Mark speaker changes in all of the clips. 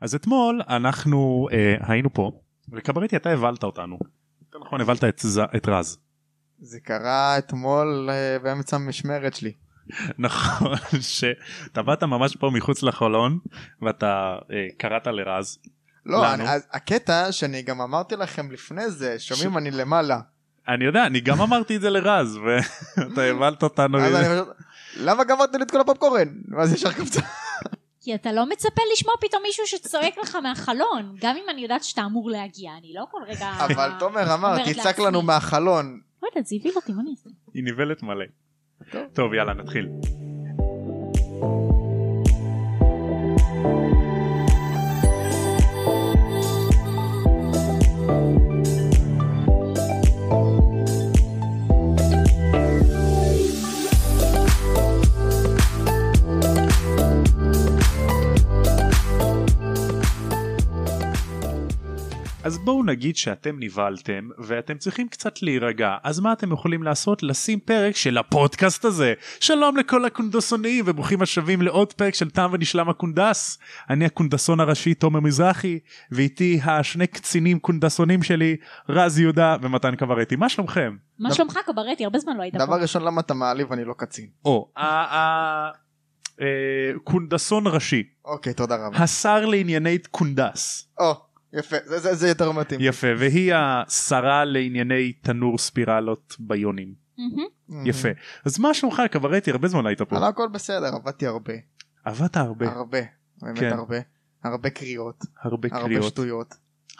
Speaker 1: אז אתמול אנחנו אה, היינו פה וקברניטי אתה הבלת אותנו. יותר נכון הבלת את, ז- את רז.
Speaker 2: זה קרה אתמול אה, באמצע המשמרת שלי.
Speaker 1: נכון שאתה באת ממש פה מחוץ לחלון ואתה אה, קראת לרז.
Speaker 2: לא,
Speaker 1: לנו?
Speaker 2: אני, אז, הקטע שאני גם אמרתי לכם לפני זה, שומעים אני למעלה.
Speaker 1: אני יודע אני גם אמרתי את זה לרז ואתה הבלת אותנו.
Speaker 2: אז אני פשוט, למה גמרתם לי את כל הפופקורן? ואז ישר קפצה.
Speaker 3: כי אתה לא מצפה לשמוע פתאום מישהו שצועק לך מהחלון, גם אם אני יודעת שאתה אמור להגיע, אני לא כל רגע...
Speaker 2: אבל תומר אמר,
Speaker 3: אומרת
Speaker 2: תצעק
Speaker 3: לעצמי.
Speaker 2: לנו מהחלון.
Speaker 3: לא יודעת, זה הבהיל אותי, מה אני אעשה?
Speaker 1: היא ניבלת מלא.
Speaker 2: טוב.
Speaker 1: טוב יאללה נתחיל. אז בואו נגיד שאתם נבהלתם ואתם צריכים קצת להירגע אז מה אתם יכולים לעשות לשים פרק של הפודקאסט הזה שלום לכל הקונדסונים וברוכים השבים לעוד פרק של תם ונשלם הקונדס אני הקונדסון הראשי תומר מזרחי ואיתי השני קצינים קונדסונים שלי רז יהודה ומתן קברטי מה שלומכם?
Speaker 3: מה
Speaker 2: דבר-
Speaker 3: שלומך קברטי? הרבה זמן לא היית פה.
Speaker 2: דבר ראשון, למה אתה מעליב? אני לא קצין.
Speaker 1: או ה- ה- אה, קונדסון ראשי
Speaker 2: אוקיי, תודה רבה.
Speaker 1: השר לענייני קונדס
Speaker 2: או, יפה, זה- זה זה יותר מתאים.
Speaker 1: יפה והיא השרה לענייני תנור ספירלות ביונים.
Speaker 3: מהמם.
Speaker 2: Mhm.
Speaker 1: יפה אז מה שלומך קברטי הרבה זמן לא היית פה
Speaker 2: אבל הכל בסדר, עבדתי הרבה.
Speaker 1: עבדת הרבה
Speaker 2: הרבה.
Speaker 1: כן.
Speaker 2: באמת הרבה. הרבה קריאות.
Speaker 1: הרבה
Speaker 2: הרבה
Speaker 1: קריאות
Speaker 2: שטויות.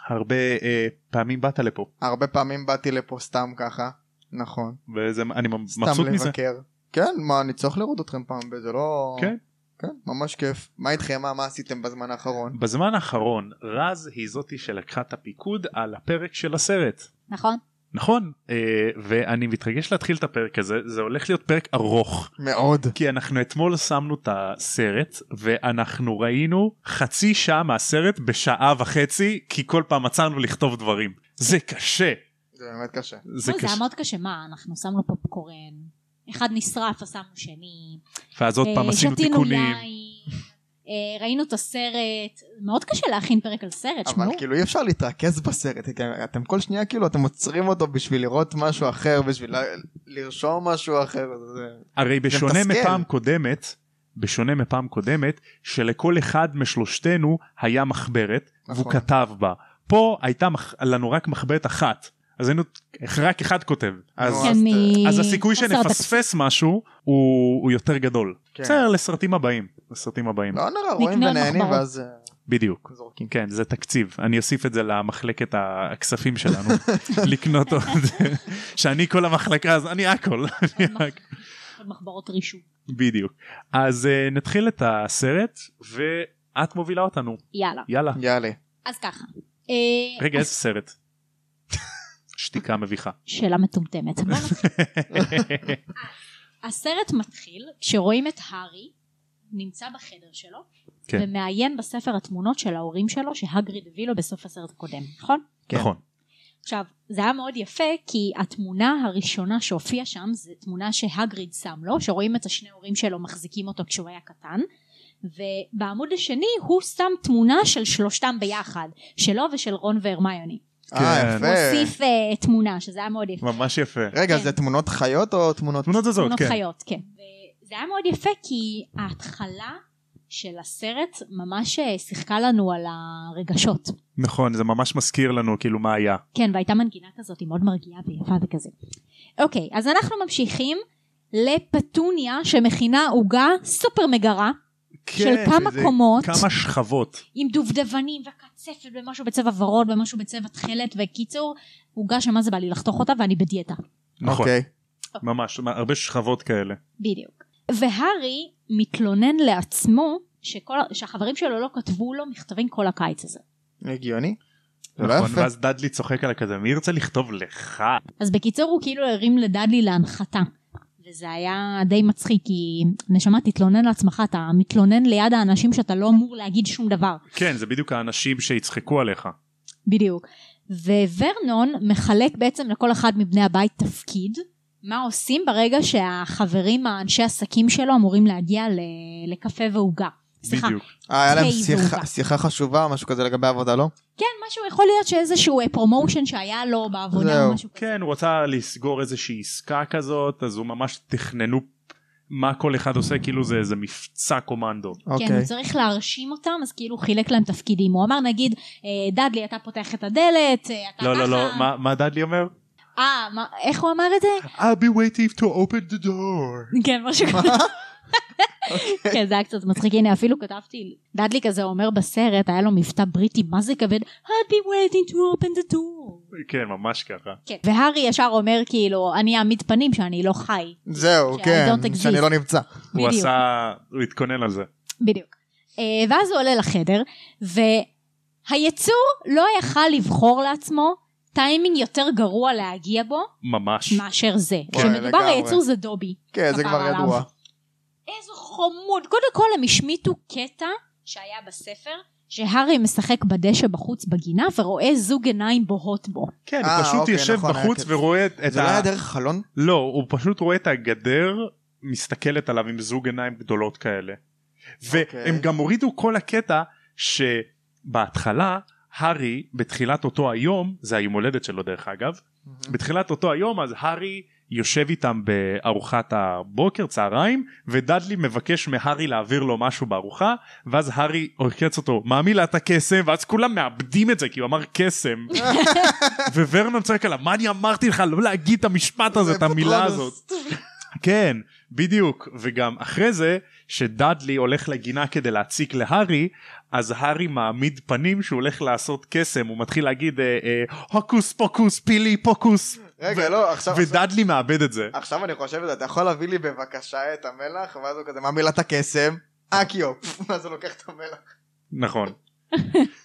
Speaker 1: הרבה אה, פעמים באת לפה
Speaker 2: הרבה פעמים באתי לפה סתם ככה. נכון.
Speaker 1: וזה אני מבסוט
Speaker 2: סתם
Speaker 1: מזה
Speaker 2: לבקר. כן, מה, אני צריך לראות אתכם פעם בזה, לא...
Speaker 1: כן.
Speaker 2: כן, ממש כיף. מה איתכם, מה, מה עשיתם בזמן האחרון?
Speaker 1: בזמן האחרון רז היא זאתי שלקחה את הפיקוד על הפרק של הסרט
Speaker 3: נכון?
Speaker 1: נכון אה, ואני מתרגש להתחיל את הפרק הזה זה הולך להיות פרק ארוך
Speaker 2: מאוד.
Speaker 1: כי אנחנו אתמול שמנו את הסרט ואנחנו ראינו חצי שעה מהסרט בשעה וחצי כי כל פעם מצאנו לכתוב דברים זה קשה
Speaker 2: זה באמת קשה.
Speaker 1: זה
Speaker 3: לא, זה
Speaker 1: קשה
Speaker 3: היה מאוד קשה, מה, אנחנו שמנו פופקורן, אחד נשרף, עשינו שני,
Speaker 1: ואז עוד
Speaker 3: אה,
Speaker 1: פעם עשינו
Speaker 3: שתינו
Speaker 1: תיקונים
Speaker 3: יין, אה, ראינו את הסרט, מאוד קשה להכין פרק על סרט,
Speaker 2: אבל
Speaker 3: שמעו.
Speaker 2: כאילו אי אפשר להתרכז בסרט, אתם- אתם כל שנייה כאילו אתם עוצרים אותו בשביל לראות משהו אחר, בשביל ל- לרשום משהו אחר, זה...
Speaker 1: הרי בשונה
Speaker 2: מתסכל.
Speaker 1: מפעם קודמת, בשונה מפעם קודמת, שלכל אחד משלושתנו היה מחברת,
Speaker 2: נכון.
Speaker 1: והוא כתב בה. פה הייתה מח- לנו רק מחברת אחת, אז היינו, רק אחד כותב. אז,
Speaker 2: נו,
Speaker 3: כי
Speaker 2: אז-
Speaker 3: אני-
Speaker 1: אז הסיכוי
Speaker 3: חסרת
Speaker 1: שנפספס משהו הוא, הוא יותר גדול.
Speaker 2: כן.
Speaker 1: בסדר, לסרטים הבאים, לסרטים הבאים,
Speaker 2: לא נורא, רואים
Speaker 3: נקנה
Speaker 2: ונהנים
Speaker 3: מחברות.
Speaker 2: ואז אה,
Speaker 1: בדיוק.
Speaker 2: זורקים.
Speaker 1: כן, זה תקציב, אני אוסיף את זה למחלקת הכספים שלנו, לקנות עוד, שאני כל המחלקה, אז אני הכל.
Speaker 3: עוד מח- עוד מחברות רישום.
Speaker 1: בדיוק. אז uh, נתחיל את הסרט ואת מובילה אותנו.
Speaker 3: יאללה.
Speaker 1: יאללה.
Speaker 2: יאללה.
Speaker 3: אז ככה. אה,
Speaker 1: רגע איזה סרט? שתיקה מביכה.
Speaker 3: שאלה מטומטמת. בוא נתחיל. הסרט מתחיל כשרואים את הארי נמצא בחדר שלו
Speaker 1: כן.
Speaker 3: ומעיין בספר התמונות של ההורים שלו שהגריד הביא לו בסוף הסרט הקודם, נכון?
Speaker 2: כן.
Speaker 1: נכון.
Speaker 3: עכשיו, זה היה מאוד יפה כי התמונה הראשונה שהופיעה שם זה תמונה שהגריד שם לו, שרואים את השני הורים שלו מחזיקים אותו כשהוא היה קטן, ובעמוד השני הוא שם תמונה של שלושתם ביחד, שלו ושל רון והרמיוני.
Speaker 2: אה,
Speaker 1: כן.
Speaker 3: הוא
Speaker 2: יפה.
Speaker 3: הוסיף אה, תמונה, שזה היה מאוד יפה.
Speaker 1: ממש יפה.
Speaker 2: רגע,
Speaker 3: כן.
Speaker 2: זה תמונות חיות או תמונות...
Speaker 1: תמונות זזות,
Speaker 3: תמונות
Speaker 1: כן.
Speaker 3: חיות, כן. וזה היה מאוד יפה כי ההתחלה של הסרט ממש אה, שיחקה לנו על הרגשות.
Speaker 1: נכון, זה ממש מזכיר לנו כאילו מה היה.
Speaker 3: כן, והייתה מנגינה כזאת, היא מאוד מרגיעה ויפה וכזה. אוקיי, אז אנחנו ממשיכים לפטוניה שמכינה עוגה סופר מגרה
Speaker 2: כן,
Speaker 3: של כמה
Speaker 1: כן, וזה-
Speaker 3: קומות.
Speaker 1: כמה שכבות.
Speaker 3: עם דובדבנים וקצפת ומשהו בצבע ורוד ומשהו בצבע תכלת וקיצור עוגה שמה זה בא לי לחתוך אותה ואני בדיאטה.
Speaker 1: נכון.
Speaker 2: אוקיי.
Speaker 1: ממש, מה- הרבה שכבות כאלה.
Speaker 3: בדיוק. והארי מתלונן לעצמו שכל, שהחברים שלו לא כתבו לו מכתבים כל הקיץ הזה.
Speaker 2: הגיוני? זה לא
Speaker 1: נכון,
Speaker 2: יפה.
Speaker 1: ואז דדלי צוחק על הכזה, מי ירצה לכתוב לך?
Speaker 3: אז בקיצור הוא כאילו הרים לדדלי להנחתה. וזה היה די מצחיק כי נשמה תתלונן לעצמך אתה מתלונן ליד האנשים שאתה לא אמור להגיד שום דבר.
Speaker 1: כן, זה בדיוק האנשים שיצחקו עליך.
Speaker 3: בדיוק. וורנון מחלק בעצם לכל אחד מבני הבית תפקיד. מה עושים ברגע שהחברים האנשי עסקים שלו אמורים להגיע ל- לקפה ועוגה. סליחה.
Speaker 1: בדיוק.
Speaker 2: אה, היה להם
Speaker 3: היי,
Speaker 2: שיחה-
Speaker 3: זהובה.
Speaker 2: שיחה חשובה או משהו כזה לגבי עבודה, לא?
Speaker 3: כן, משהו יכול להיות שאיזשהו אה, פרומושן שהיה לו בעבודה
Speaker 2: זהו.
Speaker 3: או משהו כזה.
Speaker 1: כן הוא רצה לסגור איזושהי עסקה כזאת אז הוא ממש תכננו מה כל אחד עושה כאילו זה איזה מבצע קומנדו.
Speaker 3: כן, הוא
Speaker 2: אוקיי.
Speaker 3: צריך להרשים אותם, אז כאילו הוא חילק להם תפקידים. הוא אמר נגיד, אה, דדלי אתה פותח את הדלת, אה, אתה
Speaker 1: לא לא לא
Speaker 3: ככה.
Speaker 1: מה- מה דדלי אומר?
Speaker 3: אה, מה- איך הוא אמר את זה?
Speaker 1: I'll be waiting to open the door.
Speaker 3: כן, משהו כזה. כן, זה היה קצת מצחיק. הנה, אפילו כתבתי, דדלי כזה אומר בסרט, היה לו מבטא בריטי, מה זה כבד? I'd be waiting to open the door.
Speaker 1: כן ממש ככה.
Speaker 3: כן, והארי ישר אומר כאילו, אני אעמיד פנים שאני לא חי.
Speaker 2: זהו,
Speaker 3: ש- I
Speaker 2: כן,
Speaker 3: don't exist.
Speaker 2: שאני לא נמצא.
Speaker 1: הוא
Speaker 3: בדיוק.
Speaker 1: עשה הוא התכונן על זה.
Speaker 3: בדיוק. אה, ואז הוא עולה לחדר, והיצור לא יכל לבחור לעצמו טיימינג יותר גרוע להגיע בו
Speaker 1: ממש.
Speaker 3: מאשר זה.
Speaker 2: וואי,
Speaker 3: כשמדובר
Speaker 2: לגמרי.
Speaker 3: היצור זה דובי.
Speaker 2: כן, זה כבר
Speaker 3: כפרה עליו.
Speaker 2: ידוע.
Speaker 3: איזה חמוד. קודם כל הם השמיטו קטע שהיה בספר, שהארי משחק בדשא בחוץ בגינה ורואה זוג עיניים בוהות בו.
Speaker 1: כן
Speaker 2: אה,
Speaker 1: הוא פשוט
Speaker 2: אוקיי,
Speaker 1: יושב
Speaker 2: נכון, היה
Speaker 1: בחוץ
Speaker 2: כיף.
Speaker 1: ורואה את
Speaker 2: זה לא היה
Speaker 1: ה...
Speaker 2: דרך חלון?
Speaker 1: לא הוא פשוט רואה את הגדר מסתכלת עליו עם זוג עיניים גדולות כאלה. והם
Speaker 2: אוקיי.
Speaker 1: גם הורידו כל הקטע שבהתחלה הארי בתחילת אותו היום זה היום הולדת שלו דרך אגב בתחילת אותו היום אז הארי יושב איתם בארוחת הבוקר צהריים ודדלי מבקש מהארי להעביר לו משהו בארוחה ואז הארי עוקץ אותו מאמי לה את הקסם ואז כולם מאבדים את זה כי הוא אמר קסם וורנון צועק עליו מה אני אמרתי לך לא להגיד את המשפט הזה את המילה הזאת כן, בדיוק. וגם אחרי זה, שדאדלי הולך לגינה כדי להציק להארי, אז הארי מעמיד פנים שהוא הולך לעשות קסם, הוא מתחיל להגיד אה, אה, הוקוס פוקוס פילי פוקוס,
Speaker 2: רגע, לא, עכשיו...
Speaker 1: ודאדלי מאבד את זה.
Speaker 2: עכשיו אני חושב את זה, אתה יכול להביא לי בבקשה את המלח? ואז הוא כזה, מה מילת הקסם? אקיו. ואז הוא לוקח את המלח.
Speaker 1: נכון.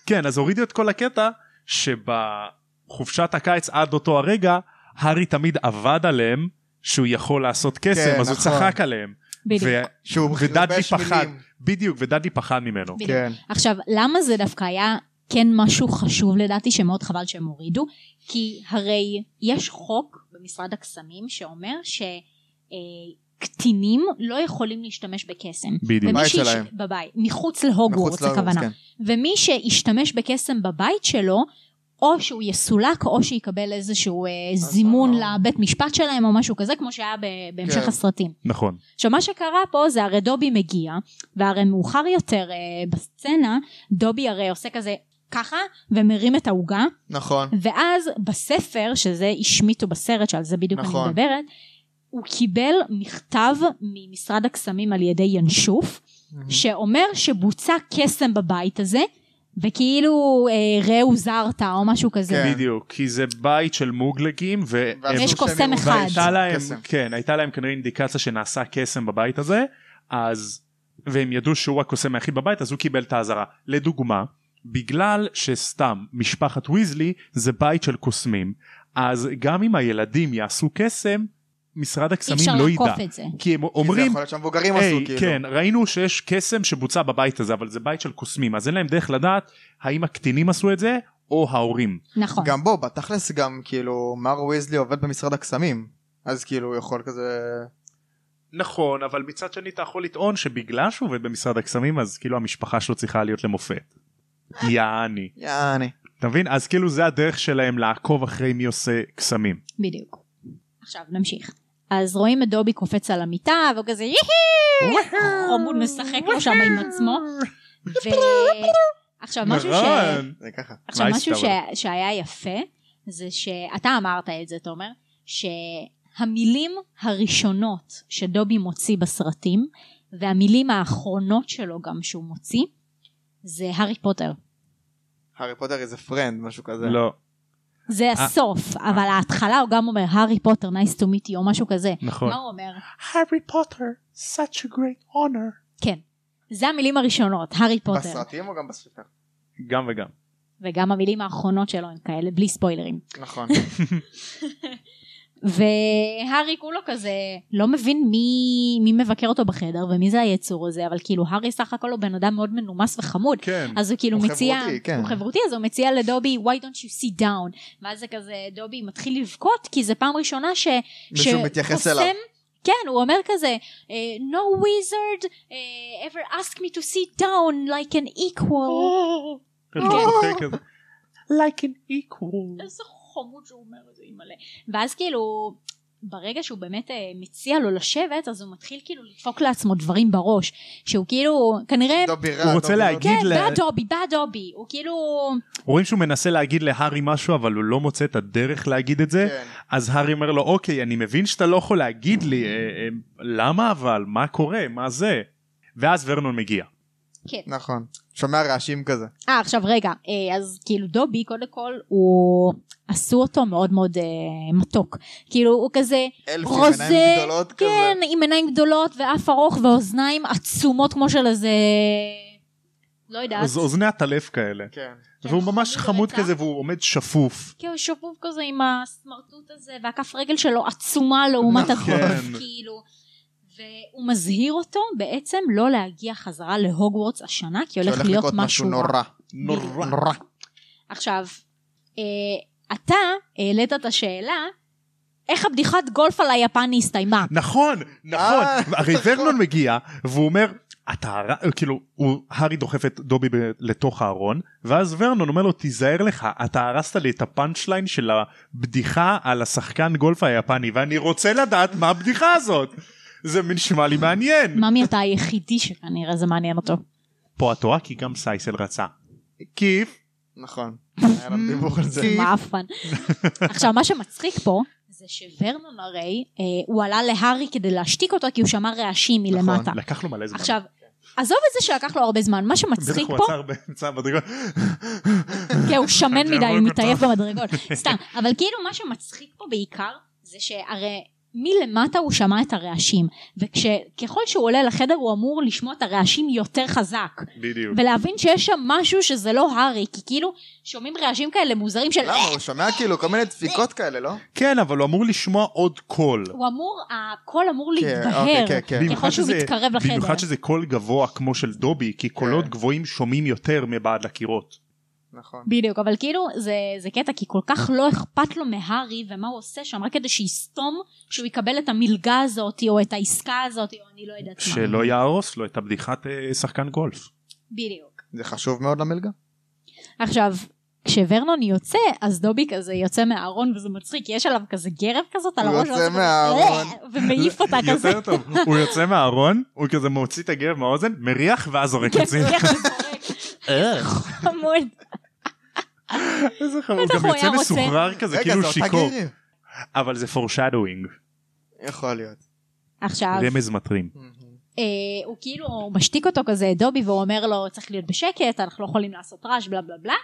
Speaker 1: כן, אז הורידו את כל הקטע שבחופשת הקיץ עד אותו הרגע, הארי תמיד עבד עליהם שהוא יכול לעשות קסם,
Speaker 2: כן,
Speaker 1: אז הוא
Speaker 2: נכון.
Speaker 1: צחק עליהם.
Speaker 3: בדיוק.
Speaker 1: ו-
Speaker 2: שהוא
Speaker 1: ודאדלי
Speaker 2: חירבש
Speaker 1: פחד,
Speaker 2: מילים.
Speaker 1: בדיוק, ודאדלי פחד ממנו.
Speaker 3: בדיוק.
Speaker 2: כן.
Speaker 3: עכשיו, למה זה דווקא היה כן משהו חשוב לדעתי שמאוד חבל שהם הורידו? כי הרי יש חוק במשרד הקסמים שאומר שקטינים לא יכולים להשתמש בקסם.
Speaker 1: בדיוק.
Speaker 3: ומי
Speaker 2: בבית
Speaker 3: שיש-
Speaker 2: שלהם.
Speaker 3: בבית, מחוץ להוגוורטס
Speaker 2: מחוץ להוגוורטס,
Speaker 3: הכוונה.
Speaker 2: כן.
Speaker 3: ומי שישתמש בקסם בבית שלו, או שהוא יסולק או שיקבל איזשהו אה, זימון
Speaker 2: אה.
Speaker 3: לבית משפט שלהם או משהו כזה, כמו שהיה ב- בהמשך
Speaker 2: כן.
Speaker 3: הסרטים.
Speaker 1: נכון.
Speaker 3: עכשיו מה שקרה פה זה הרי דובי מגיע והרי מאוחר יותר אה, בסצנה דובי הרי עושה כזה ככה ומרים את העוגה
Speaker 2: נכון.
Speaker 3: כן, ואז בספר שזה השמיטו בסרט שעל זה בדיוק
Speaker 2: נכון.
Speaker 3: אני מדברת הוא קיבל מכתב ממשרד הקסמים על ידי ינשוף שאומר שבוצע קסם בבית הזה וכאילו אה, ראו זרת או משהו כזה
Speaker 2: כן.
Speaker 1: בדיוק, כי זה בית של מוגלגים, והם
Speaker 3: יש קוסם
Speaker 2: שהם יראו
Speaker 3: אחד.
Speaker 2: בית.
Speaker 1: והייתה להם,
Speaker 2: קסם.
Speaker 1: כן, הייתה להם כנראה אינדיקציה שנעשה קסם בבית הזה, אז, והם ידעו שהוא הקוסם היחיד בבית, אז הוא קיבל את האזהרה. לדוגמה, בגלל שסתם משפחת ויזלי זה בית של קוסמים, אז גם אם הילדים יעשו קסם, משרד
Speaker 3: אי
Speaker 1: הקסמים
Speaker 3: אפשר
Speaker 1: לא
Speaker 3: לעקוף
Speaker 1: ידע.
Speaker 3: את זה
Speaker 1: כי הם
Speaker 2: כי זה
Speaker 1: אומרים,
Speaker 2: יכול להיות שהמבוגרים עשו,
Speaker 1: היי,
Speaker 2: כאילו.
Speaker 1: כן, ראינו שיש קסם שבוצע בבית הזה, אבל זה בית של קוסמים, אז אין להם דרך לדעת האם הקטינים עשו את זה, או ההורים.
Speaker 3: נכון
Speaker 2: גם בו, בתכלס גם, כאילו, מר ויזלי עובד במשרד הקסמים. אז כאילו, הוא יכול כזה...
Speaker 1: נכון אבל מצד שני אתה יכול לטעון שבגלל שהוא עובד במשרד הקסמים אז כאילו המשפחה שלו צריכה להיות למופת. יעני.
Speaker 2: יעני.
Speaker 1: אתה מבין? אז כאילו זה הדרך שלהם לעקוב אחרי מי עושה קסמים.
Speaker 3: בדיוק. עכשיו נמשיך. אז רואים את דובי קופץ על המיטה והוא כזה יהי! חמוד משחק לו שם עם עצמו. ו... עכשיו משהו, ש...
Speaker 1: נכון.
Speaker 2: זה ככה.
Speaker 3: עכשיו,
Speaker 1: מה
Speaker 3: משהו ש...
Speaker 1: הסתבר?
Speaker 3: שהיה יפה זה שאתה אמרת את זה תומר שהמילים הראשונות שדובי מוציא בסרטים והמילים האחרונות שלו גם שהוא מוציא זה הארי פוטר.
Speaker 2: הארי פוטר איזה פרנד, משהו כזה.
Speaker 1: לא.
Speaker 3: זה הסוף אבל ההתחלה הוא גם אומר הארי פוטר nice to meet you או משהו כזה.
Speaker 1: נכון.
Speaker 3: מה הוא אומר?
Speaker 1: הארי פוטר, such a great honor.
Speaker 3: כן. זה המילים הראשונות, הארי פוטר.
Speaker 2: בסרטים או גם בספר?
Speaker 1: גם וגם.
Speaker 3: וגם המילים האחרונות שלו הם כאלה, בלי ספוילרים.
Speaker 2: נכון.
Speaker 3: והארי כולו כזה לא מבין מי, מי מבקר אותו בחדר ומי זה היצור הזה, אבל כאילו הארי סך הכל הוא בן אדם מאוד מנומס וחמוד.
Speaker 1: כן.
Speaker 3: אז הוא כאילו
Speaker 2: הוא
Speaker 3: מציע,
Speaker 2: חברותי, כן.
Speaker 3: הוא חברותי, אז הוא מציע לדובי, why don't you sit down? ואז זה כזה, דובי מתחיל לבכות, כי זה פעם ראשונה ש...
Speaker 2: מישהו מתייחס אליו.
Speaker 3: שקוסם- כן, הוא אומר כזה, אה, No wizard אה, ever ask me to sit down like an equal.
Speaker 1: אתה בוכה לא כזה. Like an equal.
Speaker 3: איזה חמוד שהוא אומר את זה, אימא'לה. ואז כאילו, ברגע שהוא באמת אה, מציע לו לשבת, אז הוא מתחיל כאילו לדפוק לעצמו דברים בראש, שהוא כאילו, כנראה...
Speaker 2: דובי רע.
Speaker 1: הוא רוצה
Speaker 2: דובי רע.
Speaker 1: להגיד
Speaker 3: כן,
Speaker 1: ל-
Speaker 3: בא דובי, בא דובי, הוא כאילו...
Speaker 1: רואים שהוא מנסה להגיד להארי משהו אבל הוא לא מוצא את הדרך להגיד את זה
Speaker 2: כן.
Speaker 1: אז הארי אומר לו אוקיי אני מבין שאתה לא יכול להגיד לי אה, אה, למה אבל מה קורה מה זה ואז ורנון מגיע
Speaker 2: נכון. שומע רעשים כזה.
Speaker 3: כן. אה, עכשיו רגע, אה, אז כאילו דובי, קודם כל, הוא... עשו אותו מאוד מאוד אה, מתוק. כאילו, הוא כזה...
Speaker 2: אלפים
Speaker 3: רוזה,
Speaker 2: עיניים גדולות כזה.
Speaker 3: כן, עם עיניים גדולות ואף ארוך ואוזניים עצומות כמו של איזה... לא יודעת.
Speaker 1: אז אוזני הטלף כאלה
Speaker 2: כן.
Speaker 3: כן,
Speaker 1: והוא ממש
Speaker 3: חמוד
Speaker 1: חמוד
Speaker 3: רצח.
Speaker 1: כזה והוא עומד שפוף
Speaker 3: כאילו שפוף כזה עם הסמרטוט הזה והכף רגל שלו עצומה לעומת
Speaker 2: נכון.
Speaker 3: הגוף כאילו והוא מזהיר אותו בעצם לא להגיע חזרה להוגוורטס השנה כי הולך
Speaker 2: שהולך
Speaker 3: להיות
Speaker 2: לקרות
Speaker 3: משהו רע.
Speaker 2: נורא.
Speaker 1: נורא
Speaker 2: נורא.
Speaker 3: עכשיו אה, אתה העלית את השאלה איך הבדיחת גולף על היפני הסתיימה
Speaker 1: נכון נכון
Speaker 2: אה,
Speaker 1: הרי
Speaker 2: נכון.
Speaker 1: ורנון מגיע והוא אומר אתה הר- כאילו הוא הארי דוחף את דובי ב- לתוך הארון ואז ורנון אומר לו תיזהר לך אתה הרסת לי את הפאנצ' ליין של הבדיחה על השחקן גולף היפני ואני רוצה לדעת מה הבדיחה הזאת זה נשמע לי מעניין
Speaker 3: ממי אתה היחידי שכנראה זה מעניין אותו
Speaker 1: פה את טועה כי גם סייסל רצה כיף
Speaker 2: נכון. היה לנו דיבור על זה.
Speaker 1: כי-
Speaker 3: מעפן. עכשיו מה שמצחיק פה זה שוורנון הרי אה, הוא עלה להארי כדי להשתיק אותו כי הוא שמע רעשים
Speaker 2: נכון,
Speaker 3: מלמטה.
Speaker 1: לקח לו מלא זמן
Speaker 3: עכשיו עזוב את זה שלקח לו הרבה זמן מה שמצחיק
Speaker 1: בטח הוא
Speaker 3: פה
Speaker 1: עצר באמצע המדרגות
Speaker 3: כי הוא שמן
Speaker 1: אני
Speaker 3: מדי
Speaker 1: אהרוג
Speaker 3: הוא מתעייף
Speaker 1: אותו.
Speaker 3: במדרגות סתם אבל כאילו מה שמצחיק פה בעיקר זה שהרי מלמטה הוא שמע את הרעשים וככל שהוא עולה לחדר הוא אמור לשמוע את הרעשים יותר חזק
Speaker 1: בדיוק
Speaker 3: ולהבין שיש שם משהו שזה לא הארי כי כאילו שומעים רעשים כאלה מוזרים של
Speaker 2: למה? הוא שומע כאילו כל מיני דפיקות כאלה, לא?
Speaker 1: כן אבל הוא אמור לשמוע עוד קול
Speaker 3: הוא אמור, הקול אמור
Speaker 2: כן, אוקיי,
Speaker 3: להתבהר,
Speaker 2: כן, כן.
Speaker 3: ככל שהוא מתקרב לחדר. כן.
Speaker 1: במיוחד שזה קול גבוה כמו של דובי כי קולות גבוהים שומעים יותר מבעד לקירות.
Speaker 2: נכון.
Speaker 3: בדיוק, אבל כאילו זה, זה קטע כי כל כך לא אכפת לו מהארי ומה הוא עושה שם, רק כדי שיסתום שהוא יקבל את המלגה הזאת או את העסקה הזאת או אני לא יודעת מה.
Speaker 1: שלא יהרוס לו את הבדיחת אה, שחקן גולף.
Speaker 3: בדיוק.
Speaker 2: זה חשוב מאוד למלגה.
Speaker 3: עכשיו, כשוורנון יוצא, אז דובי כזה יוצא מהארון וזה מצחיק, יש עליו כזה גרב כזאת על
Speaker 2: הוא
Speaker 3: הראש,
Speaker 2: יוצא
Speaker 3: ועושה כזה, אה,
Speaker 2: מהארון.
Speaker 3: ומעיף אותה כזה.
Speaker 1: יותר טוב, הוא יוצא מהארון, הוא כזה מוציא את הגב מהאוזן, מריח ואז זורק
Speaker 3: כן,
Speaker 1: את זה.
Speaker 3: איך הוא זורק. חמוד.
Speaker 1: איזה חמוד, הוא
Speaker 3: בטח
Speaker 1: גם
Speaker 3: הוא
Speaker 1: יוצא
Speaker 3: היה רוצה.
Speaker 1: מסוחרר כזה,
Speaker 2: רגע,
Speaker 1: כאילו
Speaker 2: זה אותה
Speaker 1: שיכור.
Speaker 2: גרב.
Speaker 1: אבל זה פורשדווינג,
Speaker 2: יכול להיות.
Speaker 3: עכשיו,
Speaker 1: רמז מטרים.
Speaker 3: אה, הוא כאילו הוא משתיק אותו כזה דובי והוא אומר לו צריך להיות בשקט אנחנו לא יכולים לעשות רעש בלה בלה בלה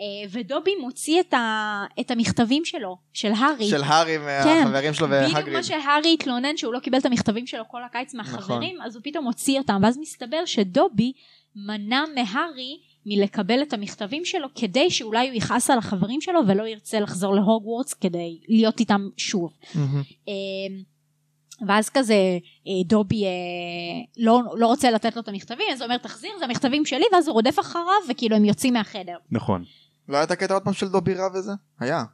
Speaker 3: אה, ודובי מוציא את, ה, את המכתבים שלו של הארי
Speaker 2: של הארי מהחברים שלו
Speaker 3: כן, בדיוק
Speaker 2: והגריד.
Speaker 3: מה שהארי התלונן שהוא לא קיבל את המכתבים שלו כל הקיץ מהחברים
Speaker 2: נכון.
Speaker 3: אז הוא פתאום הוציא אותם ואז מסתבר שדובי מנע מהארי מלקבל את המכתבים שלו כדי שאולי הוא יכעס על החברים שלו ולא ירצה לחזור להוגוורטס כדי להיות איתם שוב
Speaker 2: מהמם.
Speaker 3: אמ, ואז כזה אה, דובי אה, לא, לא רוצה לתת לו את המכתבים אז הוא אומר תחזיר זה המכתבים שלי ואז הוא רודף אחריו וכאילו הם יוצאים מהחדר.
Speaker 1: נכון.
Speaker 2: לא היה את הקטע עוד פעם של דובי רע וזה? היה.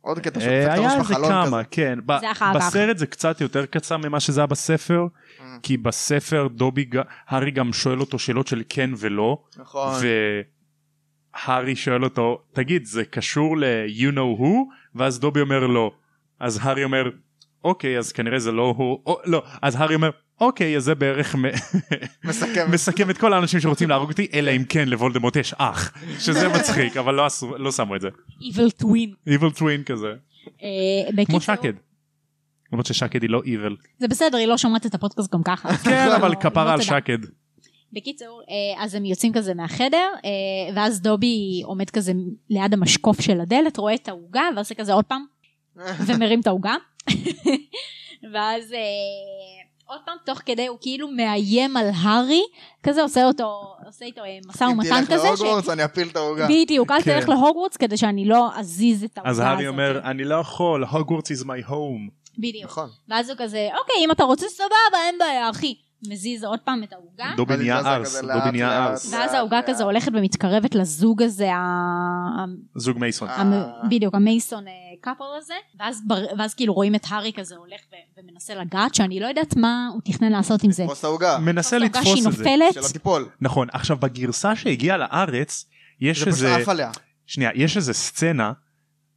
Speaker 2: עוד קטע שהוא
Speaker 1: אה,
Speaker 2: דופק את
Speaker 1: היה
Speaker 2: הראש
Speaker 1: איזה
Speaker 2: בחלון כזה.
Speaker 1: כמה, כן. ב-
Speaker 3: זה אחר כך.
Speaker 1: בסרט זה קצת יותר קצר ממה שזה היה בספר,
Speaker 2: אה,
Speaker 1: כי בספר דובי, ג- הארי גם שואל אותו שאלות של כן ולא,
Speaker 2: נכון.
Speaker 1: והארי שואל אותו תגיד זה קשור ל-you know who ואז דובי אומר לא אז הארי אומר אוקיי אז כנראה זה לא הוא או, לא אז הארי אומר אוקיי אז זה בערך מ-
Speaker 2: מסכם.
Speaker 1: מסכם את כל האנשים שרוצים להרוג אותי אלא אם כן לוולדמורט יש אח שזה מצחיק אבל לא, עשו, לא שמו את זה
Speaker 3: Evil twin.
Speaker 1: evil twin כזה
Speaker 3: אה,
Speaker 1: כמו
Speaker 3: בקיצור,
Speaker 1: שקד. למרות ששקד היא לא evil
Speaker 3: זה בסדר היא לא שומעת את הפודקאסט גם ככה.
Speaker 1: כן
Speaker 3: לא-
Speaker 1: אבל
Speaker 3: לא
Speaker 1: כפרה על
Speaker 3: תדע.
Speaker 1: שקד
Speaker 3: בקיצור אה, אז הם יוצאים כזה מהחדר אה, ואז דובי עומד כזה ליד המשקוף של הדלת רואה את העוגה ועושה כזה עוד פעם ומרים את העוגה ואז אה, עוד פעם תוך כדי הוא כאילו מאיים על הארי כזה עושה אותו עושה איתו אה, משא
Speaker 2: אם
Speaker 3: ומתן
Speaker 2: תלך
Speaker 3: כזה
Speaker 2: להוגוורטס אני אפיל את העוגה.
Speaker 3: בדיוק אל
Speaker 1: כן.
Speaker 3: תלך להוגוורטס כדי שאני לא אזיז את העוגה
Speaker 1: אז
Speaker 3: הזאת.
Speaker 1: הארי אומר
Speaker 2: אוקיי.
Speaker 1: אני לא יכול הוגוורטס is my home
Speaker 3: בדיוק
Speaker 2: נכון.
Speaker 3: ואז הוא כזה אוקיי אם אתה רוצה סבבה אין בעיה אחי מזיז עוד פעם את העוגה,
Speaker 1: דובי נהיה
Speaker 2: ואז היא זזה
Speaker 1: ארס,
Speaker 2: כזה
Speaker 1: דובי
Speaker 2: לאט,
Speaker 1: נהיה
Speaker 2: לאט,
Speaker 1: ארס.
Speaker 3: ואז העוגה
Speaker 2: לאט.
Speaker 3: כזה הולכת ומתקרבת לזוג הזה, ה- ה-
Speaker 1: זוג מייסון.
Speaker 2: אה.
Speaker 3: המ- בדיוק, המייסון אה, קאפל הזה, ואז בר- ואז כאילו רואים את הארי כזה הולך ו- ומנסה לגעת, שאני לא יודעת מה הוא תכנן לעשות עם זה.
Speaker 2: פרוס העוגה,
Speaker 1: מנסה לתפוס את זה.
Speaker 3: שהיא נופלת,
Speaker 2: שלא תיפול.
Speaker 1: נכון, עכשיו בגרסה שהגיעה לארץ, יש
Speaker 2: זה פשוט
Speaker 1: איזה...
Speaker 2: עף עליה.
Speaker 1: שנייה, יש איזה סצנה,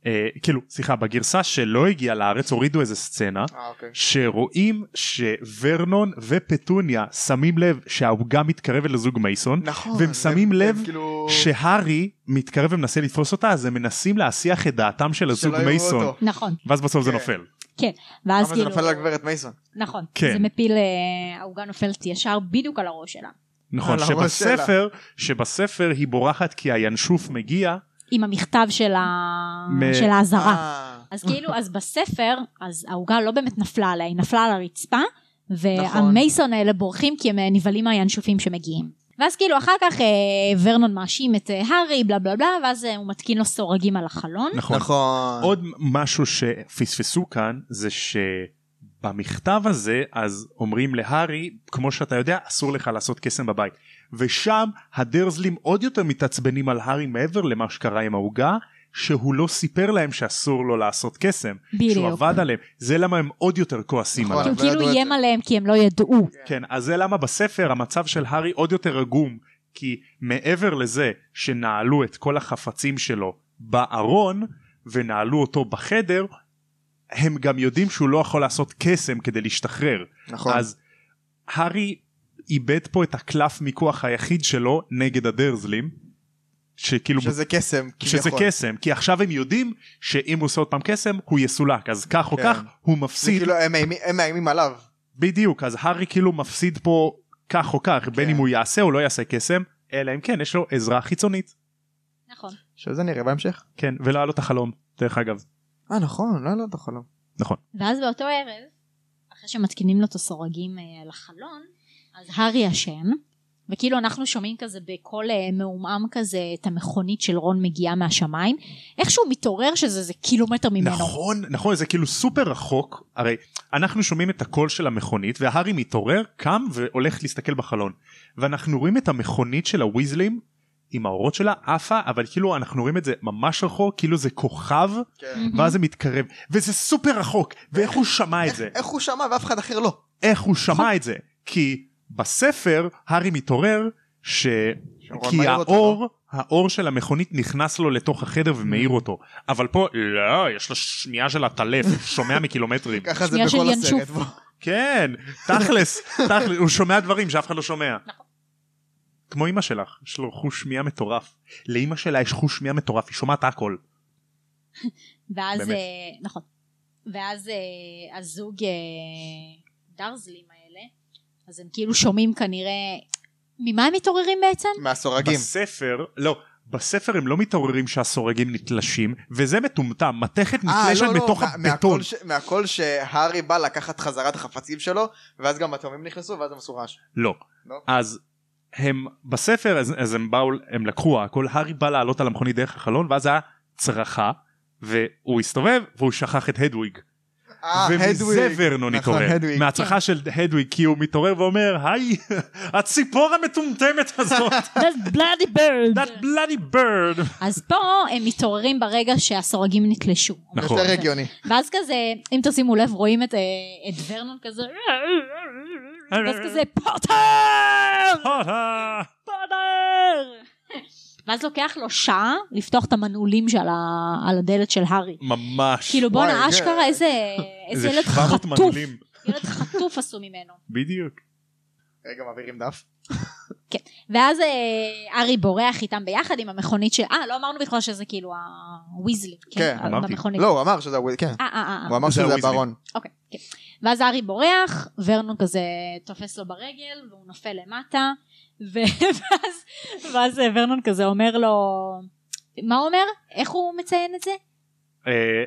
Speaker 1: אה, כאילו, סליחה, בגרסה שלא הגיעה לארץ הורידו איזה סצנה,
Speaker 2: אה, אוקיי.
Speaker 1: שרואים שוורנון ופטוניה שמים לב שהעוגה מתקרבת לזוג מייסון,
Speaker 2: נכון.
Speaker 1: והם שמים
Speaker 2: הם-
Speaker 1: לב
Speaker 2: הם כאילו-
Speaker 1: שהארי מתקרב ומנסה לתפוס אותה, אז הם מנסים להסיח את דעתם של הזוג
Speaker 2: שלא יראו
Speaker 1: מייסון,
Speaker 2: אותו.
Speaker 3: נכון,
Speaker 1: ואז בסוף זה
Speaker 2: כן.
Speaker 1: נופל.
Speaker 3: ואז
Speaker 2: למה זה
Speaker 3: כאילו,
Speaker 2: נופל על הגברת מייסון?
Speaker 3: נכון,
Speaker 1: כן.
Speaker 3: זה מפיל, אה, העוגה נופלת ישר בדיוק על הראש שלה,
Speaker 1: נכון,
Speaker 2: על הראש שלה.
Speaker 1: שבספר, שבספר היא בורחת כי הינשוף מגיע,
Speaker 3: עם המכתב של ה-
Speaker 1: מ-
Speaker 3: של האזהרה.
Speaker 2: אה,
Speaker 3: אז כאילו, אז בספר, אז העוגה לא באמת נפלה עליה, היא נפלה על הרצפה,
Speaker 2: נכון.
Speaker 3: והמייסון האלה בורחים כי הם אה, נבהלים מהינשופים שמגיעים. ואז כאילו אחר כך אה, ורנון מאשים את אה, הארי, בלה בלה בלה, ואז אה, הוא מתקין לו סורגים על החלון.
Speaker 1: נכון,
Speaker 2: נכון.
Speaker 1: עוד משהו שפספסו כאן זה שבמכתב הזה אז אומרים להארי כמו שאתה יודע אסור לך לעשות קסם בבית ושם הדרזלים עוד יותר מתעצבנים על הארי מעבר למה שקרה עם העוגה שהוא לא סיפר להם שאסור לו לעשות קסם שהוא
Speaker 3: בדיוק.
Speaker 1: עבד עליהם זה למה הם עוד יותר כועסים
Speaker 2: נכון.
Speaker 1: עליו
Speaker 3: כי הוא
Speaker 2: אבל לא ידעו
Speaker 3: כאילו
Speaker 2: את
Speaker 3: איים
Speaker 2: זה.
Speaker 3: עליהם כי הם לא ידעו.
Speaker 1: כן אז זה למה בספר המצב של הארי עוד יותר עגום כי מעבר לזה שנעלו את כל החפצים שלו בארון ונעלו אותו בחדר הם גם יודעים שהוא לא יכול לעשות קסם כדי להשתחרר
Speaker 2: נכון.
Speaker 1: אז הארי איבד פה את הקלף מיקוח היחיד שלו נגד הדרזלים שכאילו
Speaker 2: שזה קסם.
Speaker 1: כאילו- שזה
Speaker 2: כביכול.
Speaker 1: קסם כי עכשיו הם יודעים שאם הוא עושה עוד פעם קסם הוא יסולק אז כך או
Speaker 2: כן.
Speaker 1: כך הוא
Speaker 2: זה
Speaker 1: מפסיד
Speaker 2: כאילו הם מאיימים- הם מאיימים עליו.
Speaker 1: בדיוק אז הארי כאילו מפסיד פה כך או כך בין
Speaker 2: כן.
Speaker 1: אם הוא יעשה או לא יעשה קסם אלא אם כן יש לו עזרה חיצונית
Speaker 3: נכון.
Speaker 2: שזה נראה בהמשך.
Speaker 1: כן ולא היה לו את החלום דרך אגב
Speaker 2: אה נכון, לא היה לו את החלום.
Speaker 3: ואז באותו ערב, אחרי שמתקינים לו את הסורגים אה, על החלון, אז הארי ישן, וכאילו אנחנו שומעים כזה בקול אה, מעומעם כזה את המכונית של רון מגיעה מהשמיים, איכשהו מתעורר שזה זה קילומטר ממנו.
Speaker 1: נכון נכון זה כאילו סופר רחוק הרי אנחנו שומעים את הקול של המכונית והארי מתעורר קם והולך להסתכל בחלון ואנחנו רואים את המכונית של הוויזלים עם האורות שלה עפה אבל כאילו אנחנו רואים את זה ממש רחוק כאילו זה כוכב
Speaker 2: כן.
Speaker 1: ואז זה מתקרב וזה סופר רחוק ואיך הוא
Speaker 3: אה,
Speaker 1: שמע אה, את זה
Speaker 2: איך הוא שמע ואף אחד אחר לא.
Speaker 1: איך הוא שמע את זה כי בספר הארי מתעורר ש...
Speaker 2: שרון
Speaker 1: כי
Speaker 2: מעיר אותו, לא?
Speaker 1: האור האור של המכונית נכנס לו לתוך החדר
Speaker 2: Mm.
Speaker 1: ומאיר אותו אבל פה לא יש לו שנייה של הטלף שומע מקילומטרים
Speaker 2: ככה זה
Speaker 3: שנייה של
Speaker 2: בכל
Speaker 3: ינשוף.
Speaker 2: הסרט. בוא.
Speaker 1: כן תכלס תכלס הוא שומע דברים שאף אחד לא שומע.
Speaker 3: נכון.
Speaker 1: כמו אמא שלך יש לו חוש שמיעה מטורף לאמא שלה יש חוש שמיעה מטורף היא שומעת הכל
Speaker 3: ואז,
Speaker 1: באמת.
Speaker 3: אה, נכון. ואז אה, הזוג אה, דרזלים האלה, אז הם כאילו שומעים כנראה, ממה הם מתעוררים בעצם?
Speaker 2: מהסורגים.
Speaker 1: בספר לא. בספר הם לא מתעוררים שהסורגים נתלשים וזה מטומטם מתכת
Speaker 2: אה,
Speaker 1: נתלשת
Speaker 2: לא, לא,
Speaker 1: בתוך
Speaker 2: מה-
Speaker 1: הבטון
Speaker 2: מהקול ש- מהקול שהארי בא לקחת חזרה את החפצים שלו, ואז גם התאומים נכנסו, ואז המסורש.
Speaker 1: לא.
Speaker 2: לא?
Speaker 1: אז הם בספר אז, אז הם באו הם לקחו הכל הארי בא לעלות על המכונית דרך החלון ואז היה צרחה והוא הסתובב והוא שכח את הדוויג.
Speaker 2: אה,
Speaker 1: ומזה
Speaker 2: הדוויג.
Speaker 1: ורנון
Speaker 2: נכון,
Speaker 1: התעורר.
Speaker 2: הדוויג.
Speaker 1: מהצרחה של הדוויג כי הוא מתעורר ואומר היי הציפור המטומטמת הזאת
Speaker 3: That's bloody bird.
Speaker 1: that bloody bird.
Speaker 3: אז פה הם מתעוררים ברגע שהסורגים נתלשו.
Speaker 1: נכון.
Speaker 2: יותר הגיוני.
Speaker 3: ואז כזה, אם תשימו לב, רואים את, אה, את ורנון כזה, ואז כזה, פוטר! פוטר! ואז לוקח לו שעה לפתוח את המנעולים שעל ה- על הדלת של הארי.
Speaker 1: ממש.
Speaker 3: כאילו
Speaker 2: וואי,
Speaker 3: בואנה
Speaker 2: כן.
Speaker 3: אשכרה איזה איזה
Speaker 1: זה
Speaker 3: ילד
Speaker 1: 700
Speaker 3: חטוף,
Speaker 1: מנעולים.
Speaker 3: ילד חטוף עשו ממנו.
Speaker 1: בדיוק.
Speaker 2: רגע, מעבירים אה, דף.
Speaker 3: ואז אה, הארי בורח איתם ביחד עם המכונית של, אה לא אמרנו בכלל שזה כאילו הוויזלי,
Speaker 2: כן,
Speaker 1: אמרתי.
Speaker 3: במכונית.
Speaker 2: לא, הוא אמר שזה הוויז, כן.
Speaker 3: אה, אה, אה,
Speaker 2: הוא אמר
Speaker 1: זה
Speaker 2: שזה
Speaker 1: הוויזלי.
Speaker 2: הברון.
Speaker 3: אוקיי, כן. ואז הארי בורח, ורנון כזה תופס לו ברגל, והוא נופל למטה, ו- ואז, ואז אה, ורנון כזה אומר לו, מה הוא אומר? איך הוא מציין את זה?
Speaker 1: אה,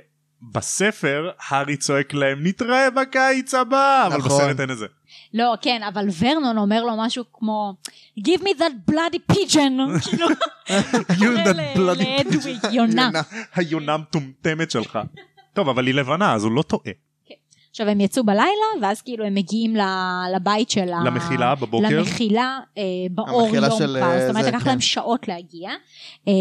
Speaker 1: בספר הארי צועק להם נתראה בקיץ הבא אבל
Speaker 2: נכון.
Speaker 1: בסרט אין את זה.
Speaker 3: לא, כן, אבל ורנון אומר לו משהו כמו, give me that bloody pigeon, כאילו,
Speaker 1: You
Speaker 3: קורא
Speaker 1: that
Speaker 3: ל-
Speaker 1: bloody
Speaker 3: לאדוויג, יונה.
Speaker 1: היונה המטומטמת שלך. טוב אבל היא לבנה אז הוא לא טועה.
Speaker 3: עכשיו הם יצאו בלילה, ואז כאילו הם מגיעים ל- לבית של ה...
Speaker 1: למחילה בבוקר.
Speaker 3: למחילה אה, באור
Speaker 2: המחילה
Speaker 3: יום
Speaker 2: של,
Speaker 3: כבר,
Speaker 2: אה,
Speaker 3: זאת אומרת
Speaker 2: זה,
Speaker 3: לקח
Speaker 2: כן.
Speaker 3: להם שעות להגיע. אה,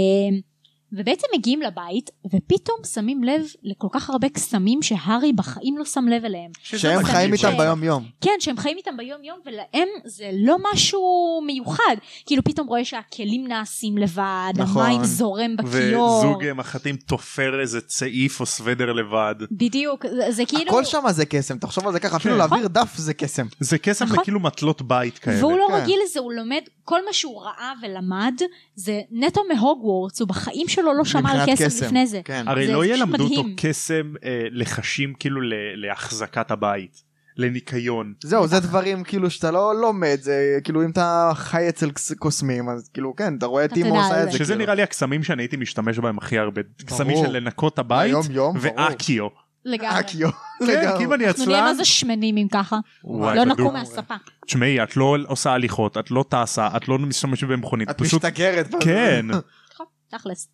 Speaker 3: ובעצם מגיעים לבית, ופתאום שמים לב לכל כך הרבה קסמים שהארי בחיים לא שם לב אליהם.
Speaker 1: שזה
Speaker 2: שהם
Speaker 1: מדהים.
Speaker 2: חיים איתם
Speaker 3: ש-
Speaker 2: ביום יום.
Speaker 3: כן, שהם חיים איתם ביום יום, ולהם זה לא משהו מיוחד. כאילו פתאום רואה שהכלים נעשים לבד,
Speaker 2: נכון.
Speaker 3: המים זורם בכיור.
Speaker 1: וזוג אה, מחטים תופר איזה צעיף או סוודר לבד.
Speaker 3: בדיוק, זה, זה כאילו...
Speaker 2: הכל שם זה קסם, תחשוב על זה ככה, אפילו
Speaker 1: כן.
Speaker 2: להעביר דף זה קסם.
Speaker 1: זה קסם
Speaker 3: נכון.
Speaker 1: וכאילו מטלות בית כאלה.
Speaker 3: והוא לא
Speaker 2: כן.
Speaker 3: רגיל לזה, הוא לומד, כל מה שהוא ראה ולמד זה נטו מהוגוורטס, הוא בחיים שלו לא שמע על
Speaker 2: מבחינת
Speaker 3: קסם לפני זה.
Speaker 2: כן.
Speaker 1: הרי
Speaker 3: זה
Speaker 1: לא
Speaker 3: פשוט
Speaker 1: ילמדו אותו
Speaker 3: מדהים.
Speaker 1: קסם אה, לחשים כאילו ל- להחזקת הבית, לניקיון.
Speaker 2: זהו, זה דברים כאילו שאתה לא לומד, זה כאילו אם אתה חי אצל קס- קוסמים, אז כאילו כן, אתה רואה את
Speaker 3: אתה
Speaker 2: אימו
Speaker 3: תדע
Speaker 2: עושה
Speaker 3: על
Speaker 2: את זה.
Speaker 3: זה.
Speaker 1: שזה
Speaker 2: כאילו.
Speaker 1: נראה לי הקסמים שאני הייתי משתמש בהם הכי הרבה. קסמים של לנקות את הבית
Speaker 2: היום יום, ברור.
Speaker 1: ואקיו.
Speaker 3: לגמרי.
Speaker 2: רק יום.
Speaker 1: כן,
Speaker 2: לגמרי.
Speaker 1: כי אם אני
Speaker 3: אנחנו נהיה
Speaker 1: עצלן...
Speaker 3: מה זה שמנים אם ככה.
Speaker 1: וואי,
Speaker 3: לא
Speaker 1: בדוק.
Speaker 3: נקום מהספה.
Speaker 1: תשמעי, את לא עושה הליכות, את לא טסה, את לא משתמשת במכונית.
Speaker 2: את
Speaker 1: פשוט-
Speaker 2: משתגרת.
Speaker 1: כן.
Speaker 3: נכון, תכלס.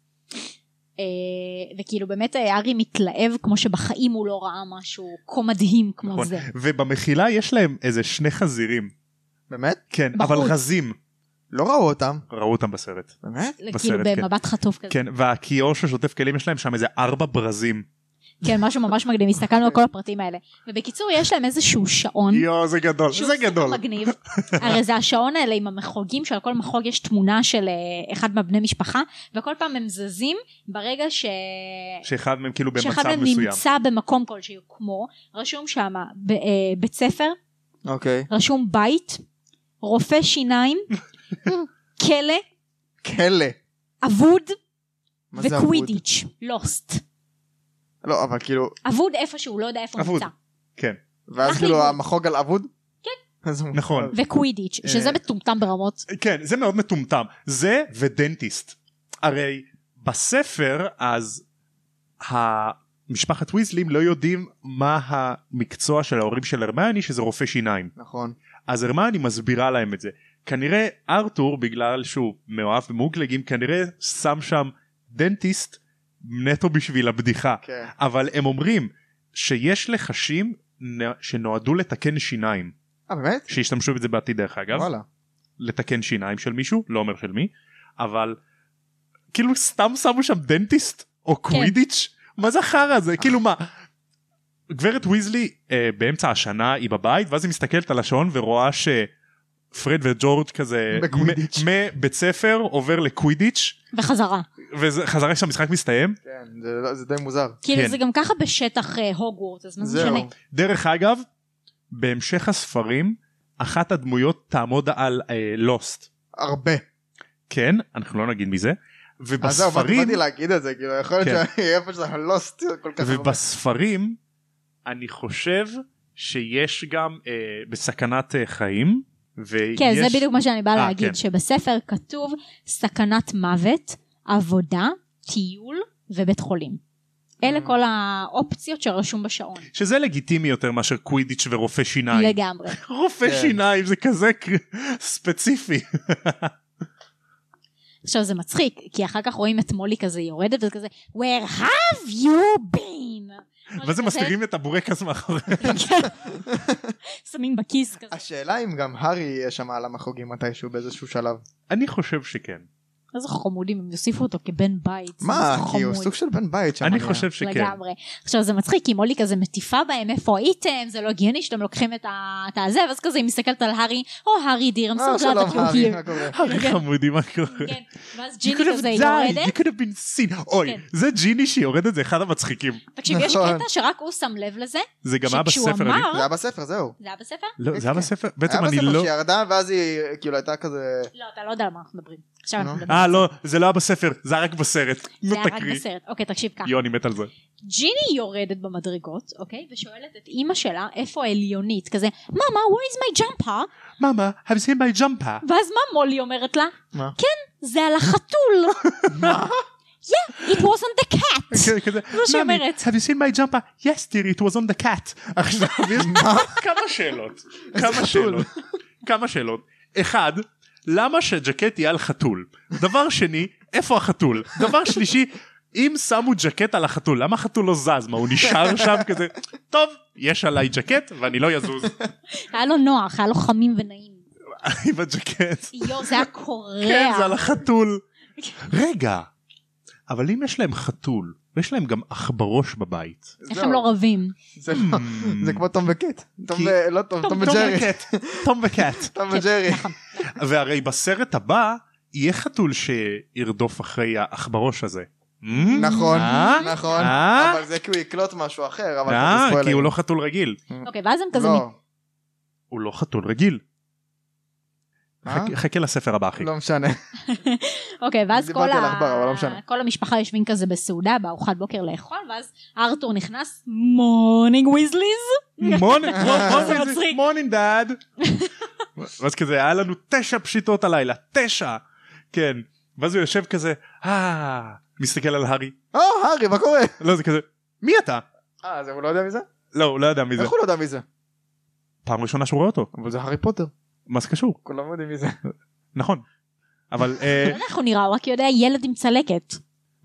Speaker 3: אה, וכאילו באמת אה, הארי מתלהב כמו שבחיים הוא לא ראה משהו כה מדהים כמו
Speaker 1: נכון.
Speaker 3: זה.
Speaker 1: ובמחילה יש להם איזה שני חזירים.
Speaker 2: באמת?
Speaker 1: כן,
Speaker 3: בחוץ.
Speaker 1: אבל רזים.
Speaker 2: לא ראו אותם.
Speaker 1: ראו אותם בסרט.
Speaker 2: באמת?
Speaker 3: כאילו
Speaker 1: בסרט, כן.
Speaker 3: במבט חטוף כזה.
Speaker 1: כן, והכיור ששוטף כלים יש להם שם איזה ארבע ברזים.
Speaker 3: כן, משהו ממש מגניב, הסתכלנו על כל הפרטים האלה. ובקיצור, יש להם איזשהו שעון.
Speaker 1: יואו, זה גדול,
Speaker 3: שהוא
Speaker 1: זה
Speaker 3: סופר
Speaker 1: גדול.
Speaker 3: מגניב. הרי זה השעון האלה עם המחוגים שעל כל מחוג יש תמונה של אה, אחד מהבני משפחה וכל פעם הם זזים ברגע ש...
Speaker 1: שאחד מהם כאילו
Speaker 3: שאחד
Speaker 1: במצב
Speaker 3: מהם
Speaker 1: מסוים.
Speaker 3: נמצא במקום כלשהו כמו רשום שם אה, בית ספר
Speaker 2: אוקיי.
Speaker 3: רשום בית רופא שיניים כלא
Speaker 2: כלא.
Speaker 3: אבוד
Speaker 2: מה זה אבוד?
Speaker 3: וקווידיץ' לוסט
Speaker 2: לא, אבל כאילו,
Speaker 3: אבוד איפשהו לא יודע איפה הוא
Speaker 1: אבוד.
Speaker 3: נמצא
Speaker 1: כן,
Speaker 2: ואז
Speaker 3: אחלה
Speaker 2: כאילו
Speaker 3: עיבוד.
Speaker 2: המחוג על אבוד? כן.
Speaker 1: נכון.
Speaker 3: וקווידיץ'
Speaker 1: אה,
Speaker 3: שזה מטומטם ברמות
Speaker 1: כן, זה מאוד מטומטם. זה ודנטיסט. הרי בספר אז משפחת ויזלים לא יודעים מה המקצוע של ההורים של הרמני שזה רופא שיניים.
Speaker 2: נכון.
Speaker 1: אז הרמני מסבירה להם את זה. כנראה ארתור בגלל שהוא מאוהב במוגלגים כנראה שם שם דנטיסט נטו בשביל הבדיחה.
Speaker 2: כן.
Speaker 1: אבל הם אומרים שיש לחשים נ- שנועדו לתקן שיניים
Speaker 2: אה, באמת?
Speaker 1: שישתמשו בזה בעתיד דרך אגב
Speaker 2: וואלה.
Speaker 1: לתקן שיניים של מישהו לא אומר של מי אבל כאילו סתם שמו שם דנטיסט או קווידיץ' מה זה החרא הזה כאילו מה. גברת ויזלי אה, באמצע השנה היא בבית ואז היא מסתכלת על השעון ורואה שפרד וג'ורג' כזה
Speaker 2: בקווידיץ'.
Speaker 1: מ- מבית ספר עובר לקווידיץ'
Speaker 3: וחזרה
Speaker 1: כן. וחזרה כשהמשחק מסתיים
Speaker 2: כן, זה- זה די מוזר.
Speaker 3: כאילו
Speaker 1: כן.
Speaker 3: זה גם ככה בשטח אה, הוגוורטס אז מה זה
Speaker 2: זהו.
Speaker 3: משנה
Speaker 1: דרך אגב, בהמשך הספרים, אחת הדמויות תעמוד על אה, לוסט.
Speaker 2: הרבה.
Speaker 1: כן, אנחנו לא נגיד מזה.
Speaker 2: אז אה, זהו, באתי
Speaker 1: ובספרים,
Speaker 2: באתי להגיד את זה, כאילו, יכול להיות
Speaker 1: כן.
Speaker 2: שאיפה שאנחנו לא עשיתי כל כך הרבה.
Speaker 1: ובספרים, אני חושב שיש גם אה, בסכנת אה, חיים, ויש...
Speaker 3: כן, זה בדיוק מה שאני באה
Speaker 1: אה,
Speaker 3: להגיד,
Speaker 1: כן.
Speaker 3: שבספר כתוב סכנת מוות, עבודה, טיול ובית חולים. אלה
Speaker 1: אה.
Speaker 2: Mm.
Speaker 3: כל האופציות שרשום בשעון.
Speaker 1: שזה לגיטימי יותר מאשר קווידיץ' ורופא שיניים.
Speaker 3: לגמרי.
Speaker 1: רופא
Speaker 2: כן.
Speaker 1: שיניים זה כזה ק- ספציפי.
Speaker 3: עכשיו זה מצחיק, כי אחר כך רואים את מולי כזה יורדת וזה כזה, Where have you been?
Speaker 1: ואז הם
Speaker 3: כזה,
Speaker 1: מסתירים את הבורקס מאחורי.
Speaker 3: שמים בכיס כזה.
Speaker 2: השאלה אם גם הארי יהיה שם על המחוגים מתישהו באיזשהו שלב.
Speaker 1: אני חושב שכן.
Speaker 3: איזה חמודים, הם יוסיפו אותו כבן בית.
Speaker 2: מה,
Speaker 3: איזה
Speaker 2: כי הוא
Speaker 3: חמוד.
Speaker 2: סוג של בן בית שם.
Speaker 1: אני
Speaker 2: נראה.
Speaker 1: חושב שכן.
Speaker 3: לגמרי. עכשיו זה מצחיק, כי מולי כזה מטיפה בהם, איפה הייתם, זה לא הגיוני שאתם לוקחים את ה- את הזה, ואז כזה היא מסתכלת על הארי, או הארי דיר, I'm
Speaker 2: אה,
Speaker 3: so glad
Speaker 2: שלום,
Speaker 3: that you're
Speaker 2: הארי,
Speaker 3: here.
Speaker 2: מה קורה?
Speaker 1: הרי חמודי מה קורה.
Speaker 3: כן, ואז
Speaker 1: You
Speaker 3: ג'יני
Speaker 1: could have
Speaker 3: כזה
Speaker 1: died,
Speaker 3: יורדת.
Speaker 1: You could have been seen. אוי,
Speaker 3: כן.
Speaker 1: זה ג'יני שיורדת זה אחד המצחיקים.
Speaker 3: תקשיב, יש
Speaker 2: נכון.
Speaker 3: קטע שרק הוא שם לב לזה,
Speaker 1: זה גם היה
Speaker 3: שכשהוא
Speaker 1: בספר. אני-
Speaker 3: אמר,
Speaker 2: זה היה בספר, זהו.
Speaker 3: זה היה בספר?
Speaker 1: לא, זה היה
Speaker 2: כן.
Speaker 1: בספר?
Speaker 2: היה
Speaker 1: בעצם אני
Speaker 2: בספר
Speaker 1: לא...
Speaker 2: שהיא ירדה, ואז היא כאילו הייתה כזה...
Speaker 3: לא, אתה לא יודע על מה אנחנו מדברים. עכשיו אנחנו
Speaker 2: נו.
Speaker 3: מדברים.
Speaker 1: אה, לא, זה לא היה בספר, זה היה רק בסרט. נו,
Speaker 3: זה היה רק
Speaker 1: תקריא.
Speaker 3: בסרט. אוקיי, תקשיב ככה.
Speaker 1: יו, אני מת על זה.
Speaker 3: ג'יני יורדת במדרגות, אוקיי? ושואלת את אימא שלה, איפה העליונית? כזה, מאמה, where is my jumper?
Speaker 1: ממה, have seen my jumper.
Speaker 3: ואז מה מולי אומרת לה?
Speaker 2: מה?
Speaker 3: כן, זה על החתול.
Speaker 2: מה?
Speaker 3: Yeah, it wasn't the cat.
Speaker 1: כן, כזה,
Speaker 3: מה שהיא
Speaker 1: "Mommy,
Speaker 3: אומרת.
Speaker 1: have you seen my jumper? Yes, dear, it was on the cat. עכשיו, יש כמה שאלות. כמה שאלות. כמה שאלות. אחד, למה שג'קט יהיה על חתול? דבר שני, איפה החתול? דבר שלישי, אם שמו ג'קט על החתול, למה החתול לא זז? מה, הוא נשאר שם כזה? טוב, יש עליי ג'קט ואני לא יזוז
Speaker 2: אוקיי.
Speaker 3: היה לו נוח, היה לו חמים ונעים.
Speaker 1: עם הג'קט.
Speaker 3: יואו, זה היה קורע.
Speaker 1: כן, זה על החתול. רגע, אבל אם יש להם חתול, ויש להם גם אח בראש בבית.
Speaker 3: איך הם לא רבים?
Speaker 2: זה לא- זה כמו תום וקט. תום
Speaker 1: Mm. כי-
Speaker 2: ו... לא תום, תום
Speaker 1: Hmm.
Speaker 2: וג'רי.
Speaker 1: וקט, תום וקט.
Speaker 2: תום
Speaker 3: כן,
Speaker 2: וג'רי.
Speaker 3: נכון.
Speaker 1: והרי בסרט הבא יהיה חתול שירדוף אחרי העכברוש הזה. Hmm?
Speaker 2: נכון,
Speaker 1: אה?
Speaker 2: נכון.
Speaker 1: אה?
Speaker 2: אבל זה כי הוא יקלוט משהו אחר, אבל...
Speaker 1: אה,
Speaker 2: זה ספוילר.
Speaker 1: כי הוא לא חתול רגיל.
Speaker 3: אוקיי, ואז הם כזה... מת-
Speaker 2: לא,
Speaker 1: הוא לא חתול רגיל.
Speaker 2: אה?
Speaker 1: חכה- חכה לספר הבא אחי.
Speaker 2: לא משנה.
Speaker 3: אוקיי, ואז כל
Speaker 2: דיברתי על
Speaker 3: ה-
Speaker 2: עכבר, אבל לא משנה.
Speaker 3: כל המשפחה יושבים כזה בסעודה, בארוחת בוקר לאכול, ואז ארתור נכנס, מורנינג ויזליז.
Speaker 1: מורנינג
Speaker 3: זה מצחיק.
Speaker 1: מורנינג דאד. ואז כזה היה לנו תשע פשיטות הלילה תשע. כן. ואז הוא יושב כזה אה מסתכל על הארי.
Speaker 2: או, הארי, מה קורה?
Speaker 1: לא זה כזה מי אתה?
Speaker 2: אה, אז הוא לא יודע מי זה?
Speaker 1: לא הוא לא יודע מי זה.
Speaker 2: איך הוא לא יודע מי זה?
Speaker 1: פעם ראשונה שהוא רואה אותו.
Speaker 2: אבל זה הארי פוטר.
Speaker 1: מה זה קשור?
Speaker 2: כולם יודעים מי זה.
Speaker 1: נכון. אבל אה,
Speaker 3: אתה יודע איך הוא נראה, הוא רק יודע ילד עם צלקת.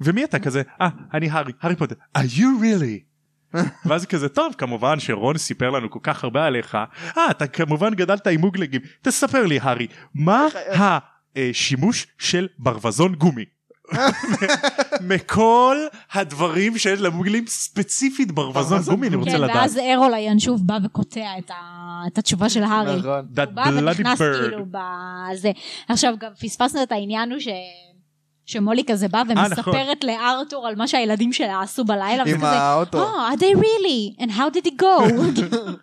Speaker 1: ומי אתה כזה אה אני הארי הארי פוטר are you really ואז כזה טוב כמובן שרון סיפר לנו כל כך הרבה עליך אה אתה כמובן גדלת עם מוגלגים תספר לי הארי מה השימוש של ברווזון גומי מכל הדברים שיש למוגלים ספציפית ברווזון
Speaker 2: ברווזון
Speaker 1: גומי אני רוצה
Speaker 3: כן,
Speaker 1: לדעת.
Speaker 3: ואז ארול הינשוף בא וקוטע את ה- את התשובה של הארי.
Speaker 2: נכון.
Speaker 1: That
Speaker 3: הוא בא
Speaker 1: bloody
Speaker 3: ונכנס
Speaker 1: bird.
Speaker 3: כאילו בזה. עכשיו גם פספסנו את העניין הוא ש... שמולי כזה
Speaker 1: אה,
Speaker 3: בא
Speaker 1: נכון.
Speaker 3: ומספרת לארתור על מה שהילדים שלה עשו בלילה.
Speaker 2: עם
Speaker 3: וכזה,
Speaker 2: האוטו.
Speaker 3: Oh, are they really? And how did it go?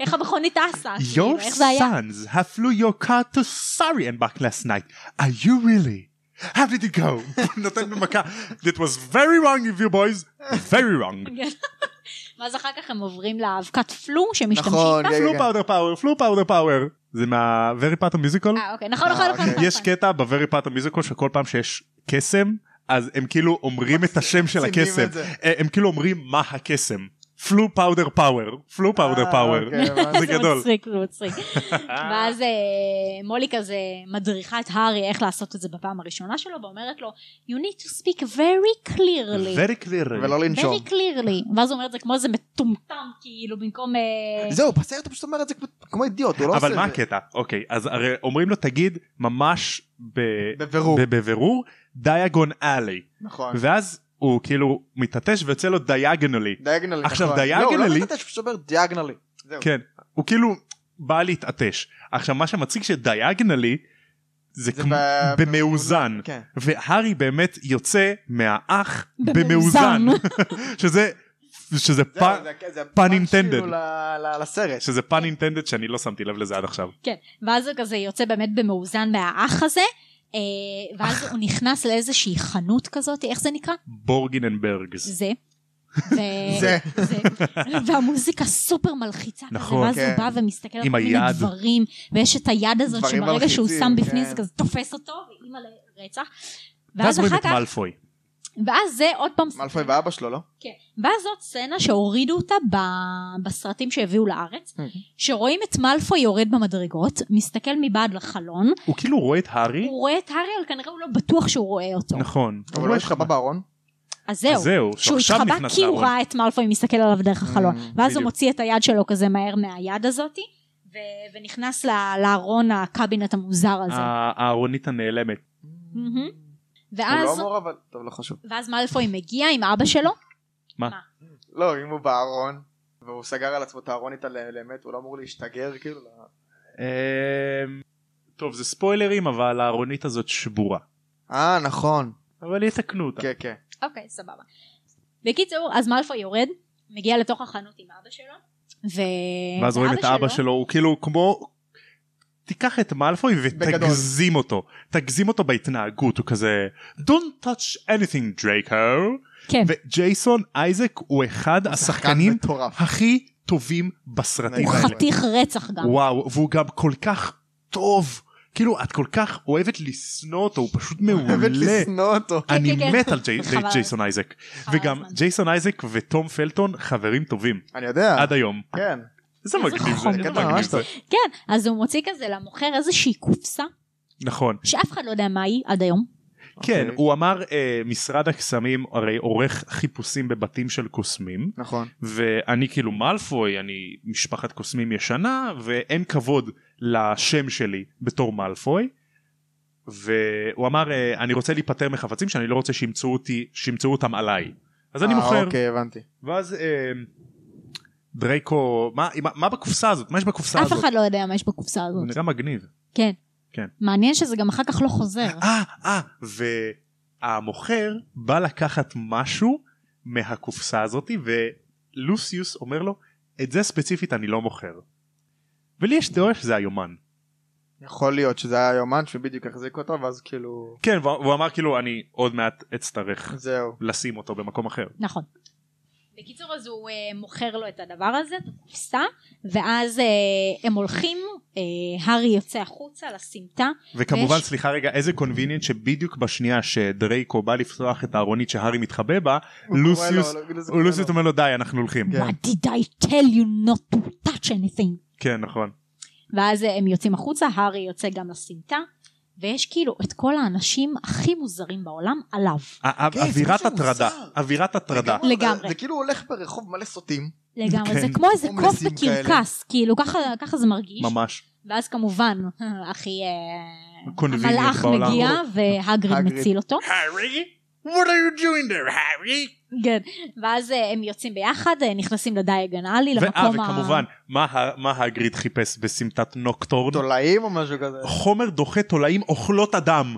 Speaker 3: איך המכונית טסה? כאילו,
Speaker 1: Your
Speaker 3: איך זה היה?
Speaker 1: sons have flew your car to Surrey and back last night. Are you really? How did it go? נותן במכה. That was very wrong of you boys. Very wrong.
Speaker 3: כן. ואז אחר כך הם עוברים לאבקת פלו שמשתמשים.
Speaker 2: נכון, כן,
Speaker 1: flew
Speaker 2: כן,
Speaker 1: powder power, flew powder power. זה מהוורי פאטה מיוזיקול.
Speaker 3: אה, אוקיי, נכון,
Speaker 2: אה,
Speaker 3: נכון, נכון.
Speaker 2: אוקיי.
Speaker 3: נכון.
Speaker 1: יש קטע בוורי פאטה מיוזיקול שכל פעם שיש קסם, אז הם כאילו אומרים את השם של
Speaker 2: מקצינים
Speaker 1: הקסם.
Speaker 2: את זה.
Speaker 1: אה, הם כאילו אומרים מה הקסם. פלו פאודר פאוור, פלו פאודר
Speaker 2: אה,
Speaker 1: פאוור,
Speaker 2: אוקיי, הבנתי.
Speaker 1: זה
Speaker 3: זה
Speaker 1: גדול.
Speaker 3: מצחיק, זה מצחיק. ואז אה, מולי כזה מדריכה את הארי איך לעשות את זה בפעם הראשונה שלו, ואומרת לו, you need to speak very clearly.
Speaker 1: Very clear.
Speaker 2: ולא לנשום.
Speaker 3: very clearly. ואז הוא אומר את זה כמו איזה מטומטם, כאילו, במקום... אה,
Speaker 2: זהו, בסרט הוא פשוט אומר את זה כמו- כמו אידיוט, הוא לא עושה
Speaker 1: אבל
Speaker 2: את
Speaker 1: מה
Speaker 2: זה.
Speaker 1: הקטע? אוקיי, אז הרי אומרים לו תגיד ממש ב-
Speaker 2: בבירור.
Speaker 1: ב- בבירור דייגון אלי,
Speaker 2: נכון.
Speaker 1: ואז הוא כאילו מתעטש ויוצא לו דיאגונלי.
Speaker 2: דיאגנלי.
Speaker 1: עכשיו,
Speaker 2: נכון. לא, הוא
Speaker 1: דיאגנלי-
Speaker 2: לא מתעטש, הוא פשוט אומר דיאגנלי. זהו.
Speaker 1: כן, הוא כאילו בא להתעטש. עכשיו מה שמצחיק שדיאגונלי זה
Speaker 2: זה
Speaker 1: כמו
Speaker 2: ב-
Speaker 1: במאוזן,
Speaker 2: כן.
Speaker 1: והארי באמת יוצא מהאח במאוזן,
Speaker 3: במאוזן.
Speaker 1: שזה שזה
Speaker 2: זהו,
Speaker 1: פ-
Speaker 2: זה- זה
Speaker 1: פן
Speaker 2: פן
Speaker 1: intended.
Speaker 2: כאילו ל- ל- לסרט.
Speaker 1: שזה פן אינטנדד שאני לא שמתי לב לזה עד עכשיו.
Speaker 3: כן, ואז הוא כזה יוצא באמת במאוזן מהאח הזה, אה, ואז הוא נכנס לאיזושהי חנות כזאת, איך זה נקרא?
Speaker 1: בורגננברגס.
Speaker 3: זה.
Speaker 1: אה.
Speaker 3: ו-
Speaker 2: זה.
Speaker 3: זה. והמוזיקה סופר מלחיצה כזה,
Speaker 1: נכון,
Speaker 3: ואז הוא
Speaker 2: כן.
Speaker 3: בא ומסתכל על
Speaker 1: עם
Speaker 3: כל מיני
Speaker 1: היד.
Speaker 3: דברים, ויש את היד הזאת
Speaker 2: דברים
Speaker 3: שברגע שהוא
Speaker 2: מלחיצים,
Speaker 3: שם בפנים
Speaker 2: כן.
Speaker 3: זה כזה תופס אותו, ואימא לרצח.
Speaker 1: ואז
Speaker 3: ואז
Speaker 1: רואים
Speaker 3: אחר
Speaker 1: את
Speaker 3: כך,
Speaker 1: מאלפוי.
Speaker 3: ואז זה עוד פעם,
Speaker 2: מאלפוי ואבא שלו, לא?
Speaker 3: כן. ואז זאת סצנה שהורידו אותה ב- בסרטים שהביאו לארץ, שרואים את מאלפוי יורד במדרגות, מסתכל מבעד לחלון,
Speaker 1: הוא כאילו רואה את הארי.
Speaker 3: הוא רואה את הארי, אבל כנראה הוא לא בטוח שהוא רואה אותו.
Speaker 1: נכון.
Speaker 2: אבל לא הוא התחבא בארון.
Speaker 3: אז זהו.
Speaker 1: אז זהו,
Speaker 3: שהוא
Speaker 1: שעכשיו
Speaker 3: התחבא
Speaker 1: נכנס
Speaker 3: כי הוא
Speaker 1: לארון.
Speaker 3: ראה את מאלפוי מסתכל עליו דרך החלון.
Speaker 2: Mm,
Speaker 3: ואז הוא
Speaker 1: בדיוק.
Speaker 3: מוציא את היד שלו כזה מהר מהיד הזאתי, ו- ונכנס ל- לארון הקבינט המוזר הזה.
Speaker 1: ה- הארונית הנעלמת.
Speaker 3: מהמם.
Speaker 2: הוא לא
Speaker 3: ואז,
Speaker 2: אמור אבל... טוב, לא חשוב.
Speaker 3: ואז מאלפוי מגיע עם אבא שלו,
Speaker 2: לא, אם הוא בארון, והוא סגר על עצמו את הארון איתה לאמת, הוא לא אמור להשתגר כאילו. ל-
Speaker 1: אמ, טוב זה ספוילרים אבל הארונית הזאת שבורה.
Speaker 2: אה, נכון.
Speaker 1: אבל יתקנו אותה.
Speaker 2: כן, כן.
Speaker 3: אוקיי סבבה. בקיצור אז מאלפוי יורד, מגיע לתוך החנות עם אבא שלו, ו-
Speaker 1: ואז רואים את
Speaker 3: ואבא
Speaker 1: אבא שלו הוא כאילו כמו תיקח את מאלפוי ותגזים אותו. תגזים אותו בהתנהגות הוא כזה Don't touch anything דרייקו.
Speaker 3: כן,
Speaker 1: וג'ייסון אייזק הוא אחד השחקנים
Speaker 2: מטורף.
Speaker 1: הכי טובים בסרטים
Speaker 3: הוא
Speaker 2: הוא
Speaker 1: האלה.
Speaker 3: חתיך רצח גם.
Speaker 1: וואו והוא גם כל כך טוב. כאילו את כל כך אוהבת לשנוא אותו הוא פשוט
Speaker 2: אוהבת
Speaker 1: מעולה.
Speaker 2: לשנוא אותו.
Speaker 3: כן,
Speaker 1: אני
Speaker 3: כן.
Speaker 1: מת על ג'י-
Speaker 3: חבל.
Speaker 1: ג'ייסון אייזק
Speaker 3: חבל
Speaker 1: וגם
Speaker 3: הזמן.
Speaker 1: ג'ייסון אייזק וטום פלטון חברים טובים
Speaker 2: אני יודע.
Speaker 1: עד היום
Speaker 2: כן.
Speaker 1: זה
Speaker 3: איזה
Speaker 1: מגניב זה,
Speaker 3: חום,
Speaker 1: זה
Speaker 2: כן,
Speaker 1: מגניב
Speaker 2: ממש
Speaker 1: זה
Speaker 2: טוב.
Speaker 3: כן, אז הוא מוציא כזה למוכר איזושהי קופסה,
Speaker 1: נכון
Speaker 3: שאף אחד לא יודע מה היא עד היום.
Speaker 1: כן,
Speaker 2: אוקיי.
Speaker 1: הוא אמר אה, משרד הקסמים הרי עורך חיפושים בבתים של קוסמים,
Speaker 2: נכון.
Speaker 1: ואני כאילו מאלפוי, אני משפחת קוסמים ישנה, ואין כבוד לשם שלי בתור מאלפוי. והוא אמר אה, אני רוצה להיפטר מחפצים שאני לא רוצה שימצאו אותי שימצאו אותם עליי אז אני
Speaker 2: אה,
Speaker 1: מוכר
Speaker 2: אוקיי, הבנתי.
Speaker 1: ואז אה, דרייקו מה, מה, מה בקופסה הזאת מה יש בקופסה
Speaker 3: אף
Speaker 1: הזאת
Speaker 3: אחד לא יודע מה יש בקופסה
Speaker 1: הוא
Speaker 3: הזאת.
Speaker 1: נראה מגניב
Speaker 3: כן.
Speaker 1: כן.
Speaker 3: מעניין שזה גם אחר כך לא חוזר.
Speaker 1: אה, אה, והמוכר בא לקחת משהו מהקופסה הזאתי, ולוסיוס אומר לו, את זה ספציפית אני לא מוכר. ולי יש תיאוריה שזה היומן.
Speaker 2: יכול להיות שזה היה יומן שבדיוק החזיק אותו ואז כאילו
Speaker 1: כן, והוא והוא אמר כאילו, אני עוד מעט אצטרך
Speaker 2: זהו.
Speaker 1: לשים אותו במקום אחר.
Speaker 3: נכון. בקיצור אז הוא אה, מוכר לו את הדבר הזה, את הקופסה, ואז אה, הם הולכים, אה, הארי יוצא החוצה לסמטה,
Speaker 1: וכמובן,
Speaker 3: ויש-
Speaker 1: סליחה רגע, איזה קונביניאנט שבדיוק בשנייה שדרייקו בא לפתוח את הארונית שהארי מתחבא בה,
Speaker 2: הוא קורא
Speaker 1: לוסיוס-
Speaker 2: לו, לוסיוס קורא
Speaker 1: לוסיוס
Speaker 2: לו.
Speaker 1: אומר לו, די, אנחנו הולכים.
Speaker 2: לא- כן.
Speaker 3: What did I tell you not to touch anything?
Speaker 1: כן, נכון.
Speaker 3: ואז אה, הם יוצאים החוצה, הארי יוצא גם לסמטה, ויש כאילו את כל האנשים הכי מוזרים בעולם עליו.
Speaker 1: א- א-
Speaker 2: כן, זה
Speaker 1: אווירת
Speaker 2: משהו
Speaker 1: הטרדה,
Speaker 2: מוזר.
Speaker 1: אווירת הטרדה.
Speaker 2: זה-
Speaker 3: לגמרי.
Speaker 2: זה כאילו הוא הולך ברחוב מלא סוטים.
Speaker 3: לגמרי,
Speaker 1: כן.
Speaker 3: זה כמו איזה קוף
Speaker 2: הומלסים כאלה.
Speaker 3: בקרקס, כאילו ככה, ככה זה מרגיש.
Speaker 1: ממש.
Speaker 3: ואז כמובן, הכי... אה,
Speaker 1: קונביניאנט
Speaker 3: המלאך
Speaker 1: בעולם.
Speaker 3: מגיע והגריד
Speaker 2: הגריד.
Speaker 3: מציל אותו.
Speaker 1: הארי? What are you doing there, הארי?
Speaker 3: כן, ואז אה, הם יוצאים ביחד, אה, נכנסים לדייג הנאלי,
Speaker 1: ואה,
Speaker 3: למקום ה...
Speaker 1: אה, וכמובן, מה ה- מה הגריד חיפש בסמטת נוקטורן?
Speaker 2: תולעים או משהו כזה.
Speaker 1: חומר דוחה תולעים אוכלות אדם.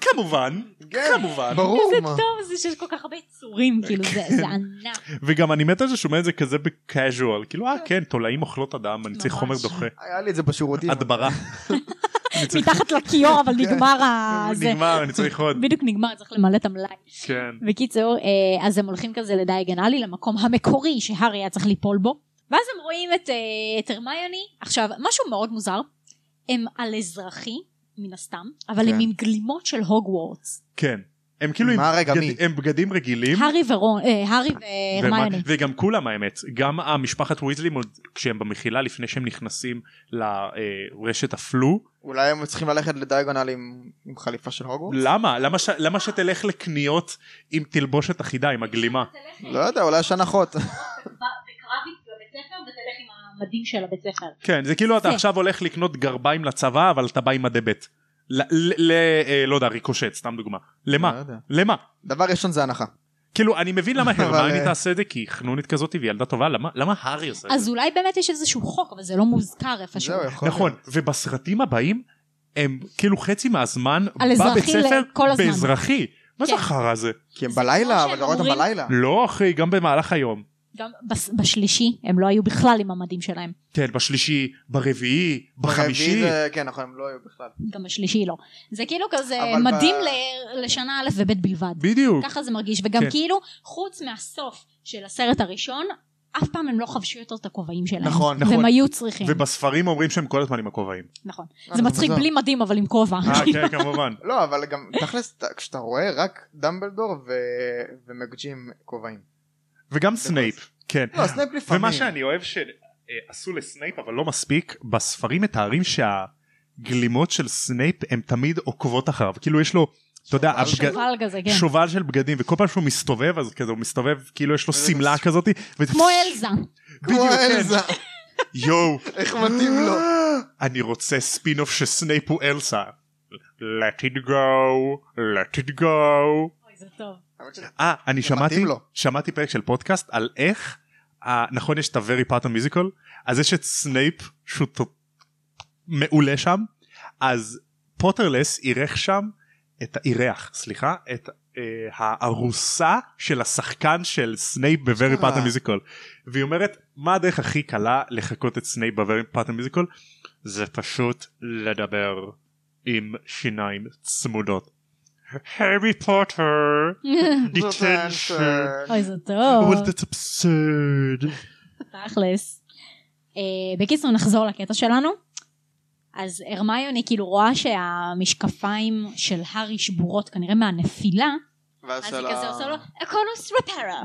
Speaker 1: כמובן,
Speaker 2: כן.
Speaker 1: כמובן.
Speaker 2: ברור
Speaker 3: איזה
Speaker 2: מה.
Speaker 3: טוב זה שיש כל כך הרבה צורים, כאילו זה זה ענק.
Speaker 1: וגם אני מת על זה שומע את זה כזה בקאז'ואל, כאילו אה כן, תולעים אוכלות אדם, אני צריך
Speaker 3: ממש.
Speaker 1: חומר דוחה.
Speaker 2: היה לי את זה בשירותים.
Speaker 1: הדברה. אני צריך-
Speaker 3: מתחת לכיור, אבל נגמר ה... זה.
Speaker 1: נגמר, אני צריך עוד.
Speaker 3: בדיוק נגמר, צריך למלא את המלאי.
Speaker 1: כן.
Speaker 3: בקיצור, אה, אז הם הולכים כזה לדייג הנאלי, למקום המקורי שהארי היה צריך ליפול בו. ואז הם רואים את, אה, את הרמיוני. עכשיו, משהו מאוד מוזר, הם על אזרחי, מן הסתם, אבל
Speaker 2: כן.
Speaker 3: הם עם גלימות של הוגוורטס.
Speaker 1: כן. הם כאילו עם
Speaker 2: מה רגע,
Speaker 1: בגד-
Speaker 2: מי?
Speaker 1: הם בגדים רגילים.
Speaker 3: הארי ורון, אה, הארי
Speaker 1: ומה-
Speaker 3: והרמיוני.
Speaker 1: וגם כולם האמת גם המשפחת ויזלים עוד כשהם במחילה לפני שהם נכנסים לרשת הפלו
Speaker 2: אולי הם צריכים ללכת לדייגונל עם עם חליפה של הוגוורטס?
Speaker 1: למה למה ש- למה שתלך לקניות עם תלבושת אחידה עם הגלימה
Speaker 2: לא יודע, אולי יש הנחות.
Speaker 3: בקרביץ בבית ספר ותלך עם המדים של הבית ספר.
Speaker 1: כן זה כאילו אתה
Speaker 3: זה.
Speaker 1: עכשיו הולך לקנות גרביים לצבא אבל אתה בא עם מדי בית ל- ל- ל- אה, לא יודע ריקושט סתם דוגמה
Speaker 2: לא
Speaker 1: למה
Speaker 2: יודע.
Speaker 1: למה
Speaker 2: דבר ראשון זה הנחה.
Speaker 1: כאילו אני מבין למה
Speaker 2: אבל,
Speaker 1: הרמיוני
Speaker 2: אה,
Speaker 1: תעשה את זה כי היא חנונית כזאת והיא ילדה טובה למה למה הארי עושה את
Speaker 3: אז
Speaker 1: זה
Speaker 3: אולי באמת יש איזשהו חוק, אבל זה לא מוזכר איפשהו.
Speaker 2: זהו, יכול
Speaker 1: נכון
Speaker 2: להיות.
Speaker 1: ובסרטים הבאים הם כאילו חצי מהזמן
Speaker 3: על
Speaker 1: בבית
Speaker 3: אזרחי
Speaker 1: ספר
Speaker 3: ל- כל הזמן.
Speaker 1: באזרחי. מה זה
Speaker 3: כן.
Speaker 1: החרא הזה?
Speaker 2: כי הם
Speaker 3: זה כמו
Speaker 2: בלילה, אבל
Speaker 3: שהם
Speaker 2: אתה רואה אותם
Speaker 3: אומרים-
Speaker 2: בלילה.
Speaker 1: לא אחי, גם במהלך היום.
Speaker 3: גם בס- בשלישי, הם לא היו בכלל עם המדים שלהם.
Speaker 1: כן, בשלישי, ברביעי,
Speaker 2: ברביעי
Speaker 1: בחמישי.
Speaker 2: זה- כן, נכון, הם לא היו בכלל.
Speaker 3: גם בשלישי לא. זה כאילו כזה
Speaker 2: אבל ב-
Speaker 3: מדים ל- לשנה א' וב' בלבד.
Speaker 1: בדיוק.
Speaker 3: ככה זה מרגיש, וגם
Speaker 1: כן.
Speaker 3: כאילו, חוץ מהסוף של הסרט הראשון, אף פעם הם לא חבשו יותר את הכובעים שלהם.
Speaker 2: נכון,
Speaker 1: נכון.
Speaker 3: והם היו צריכים.
Speaker 1: ובספרים אומרים שהם כל הזמן עם הכובעים.
Speaker 3: נכון.
Speaker 2: אה,
Speaker 3: זה
Speaker 2: זה
Speaker 3: מצחיק
Speaker 2: מוזר.
Speaker 3: בלי מדים, אבל עם כובע.
Speaker 1: אה, כן, כמובן.
Speaker 2: לא, אבל גם תכלס, ת- כשאתה רואה רק דמבלדור ו- ומג'ים כובעים.
Speaker 1: וגם סנייפ. כן.
Speaker 2: לא, סנייפ לפעמים.
Speaker 1: ומה שאני אוהב שעשו לסנייפ, אבל לא מספיק, בספרים מתארים שהגלימות של סנייפ הן תמיד עוקבות אחריו. כאילו יש לו, אתה יודע,
Speaker 2: שובל
Speaker 1: הבגד-
Speaker 3: שובל כזה, כן.
Speaker 1: שובל של בגדים, וכל פעם שהוא מסתובב, אז כזה הוא מסתובב, כאילו יש לו
Speaker 2: איזה
Speaker 1: שמלה
Speaker 2: מס-
Speaker 1: כזאת. ו-
Speaker 3: כמו אלזה.
Speaker 1: בדיוק,
Speaker 2: כמו
Speaker 1: כן.
Speaker 2: אלזה.
Speaker 1: יואו.
Speaker 2: איך מתאים לו.
Speaker 1: אני רוצה ספין אוף שסנייפ הוא אלסה. let it go, let it go.
Speaker 3: אוי, זה טוב.
Speaker 1: אה, אני
Speaker 2: זה
Speaker 1: שמעתי,
Speaker 2: מתאים לו.
Speaker 1: שמעתי פרק של פודקאסט על איך, אה, נכון יש את הוורי פאטון מיוזיקל, אז יש את סנייפ שהוא ט- מעולה שם, אז פוטרלס אירח שם, את, אירח, סליחה, את אה, הארוסה של השחקן של סנייפ בוורי
Speaker 2: אה.
Speaker 1: פאטון מיוזיקל, והיא אומרת, מה הדרך הכי קלה לחקות את סנייפ בוורי פאטון מיוזיקל? זה פשוט לדבר עם שיניים צמודות. הארי פוטר detention.
Speaker 3: אוי, זה טוב.
Speaker 1: Well, that's absurd.
Speaker 3: תכלס. אה, בקיצור נחזור לקטע שלנו. אז הרמיוני כאילו רואה שהמשקפיים של הארי שבורות כנראה מהנפילה,
Speaker 2: ואז
Speaker 3: אז
Speaker 2: של
Speaker 3: היא
Speaker 2: ה-
Speaker 3: כזה עושה לו אקולוס רפרה.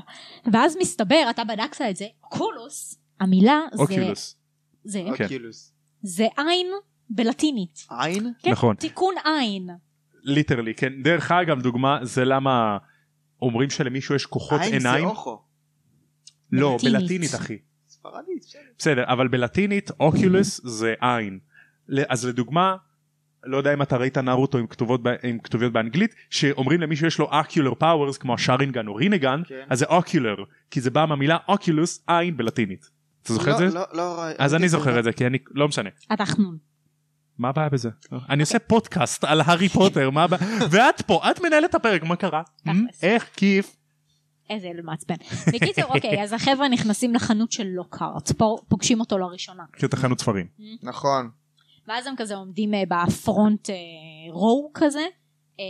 Speaker 3: ואז מסתבר, אתה בדקת את זה, אקולוס, המילה זה-
Speaker 1: אוקיולוס.
Speaker 3: זה-
Speaker 1: כן.
Speaker 2: אוקילוס.
Speaker 3: זה עין בלטינית.
Speaker 2: עין?
Speaker 3: כן,
Speaker 1: נכון.
Speaker 3: תיקון עין.
Speaker 1: ליטרלי כן דרך אגב דוגמה זה למה אומרים שלמישהו יש כוחות
Speaker 2: עין זה
Speaker 1: עיניים
Speaker 2: אוכו.
Speaker 1: לא
Speaker 3: בלטינית.
Speaker 1: בלטינית אחי
Speaker 2: ספרדית, בסדר.
Speaker 1: בסדר אבל בלטינית אוקיולוס זה עין ל- אז לדוגמה לא יודע אם אתה ראית נארוטו עם כתובות ב- עם כתוביות באנגלית שאומרים למישהו יש לו אוקיולר פאוורס כמו השארינגן או רינגן
Speaker 2: כן.
Speaker 1: אז זה אוקיולר כי זה בא מהמילה אוקיולוס עין בלטינית. אתה זוכר את
Speaker 2: לא,
Speaker 1: זה?
Speaker 2: לא, לא, ראי-
Speaker 1: אז אני
Speaker 2: ראיתי
Speaker 1: זוכר
Speaker 2: זה.
Speaker 1: את זה כי אני לא משנה
Speaker 3: התחנון.
Speaker 1: מה הבעיה בזה אני עושה פודקאסט על הארי פוטר מה הבעיה ואת פה את מנהלת הפרק מה קרה מ? איך כיף
Speaker 3: איזה ילד מעצבן. בקיצור, אוקיי, אז החבר'ה נכנסים לחנות של לוקהרט, פה פוגשים אותו לראשונה.
Speaker 1: כי אתה חנות ספרים
Speaker 2: נכון.
Speaker 3: ואז הם כזה עומדים אה, בפרונט אה, רואו כזה, אה,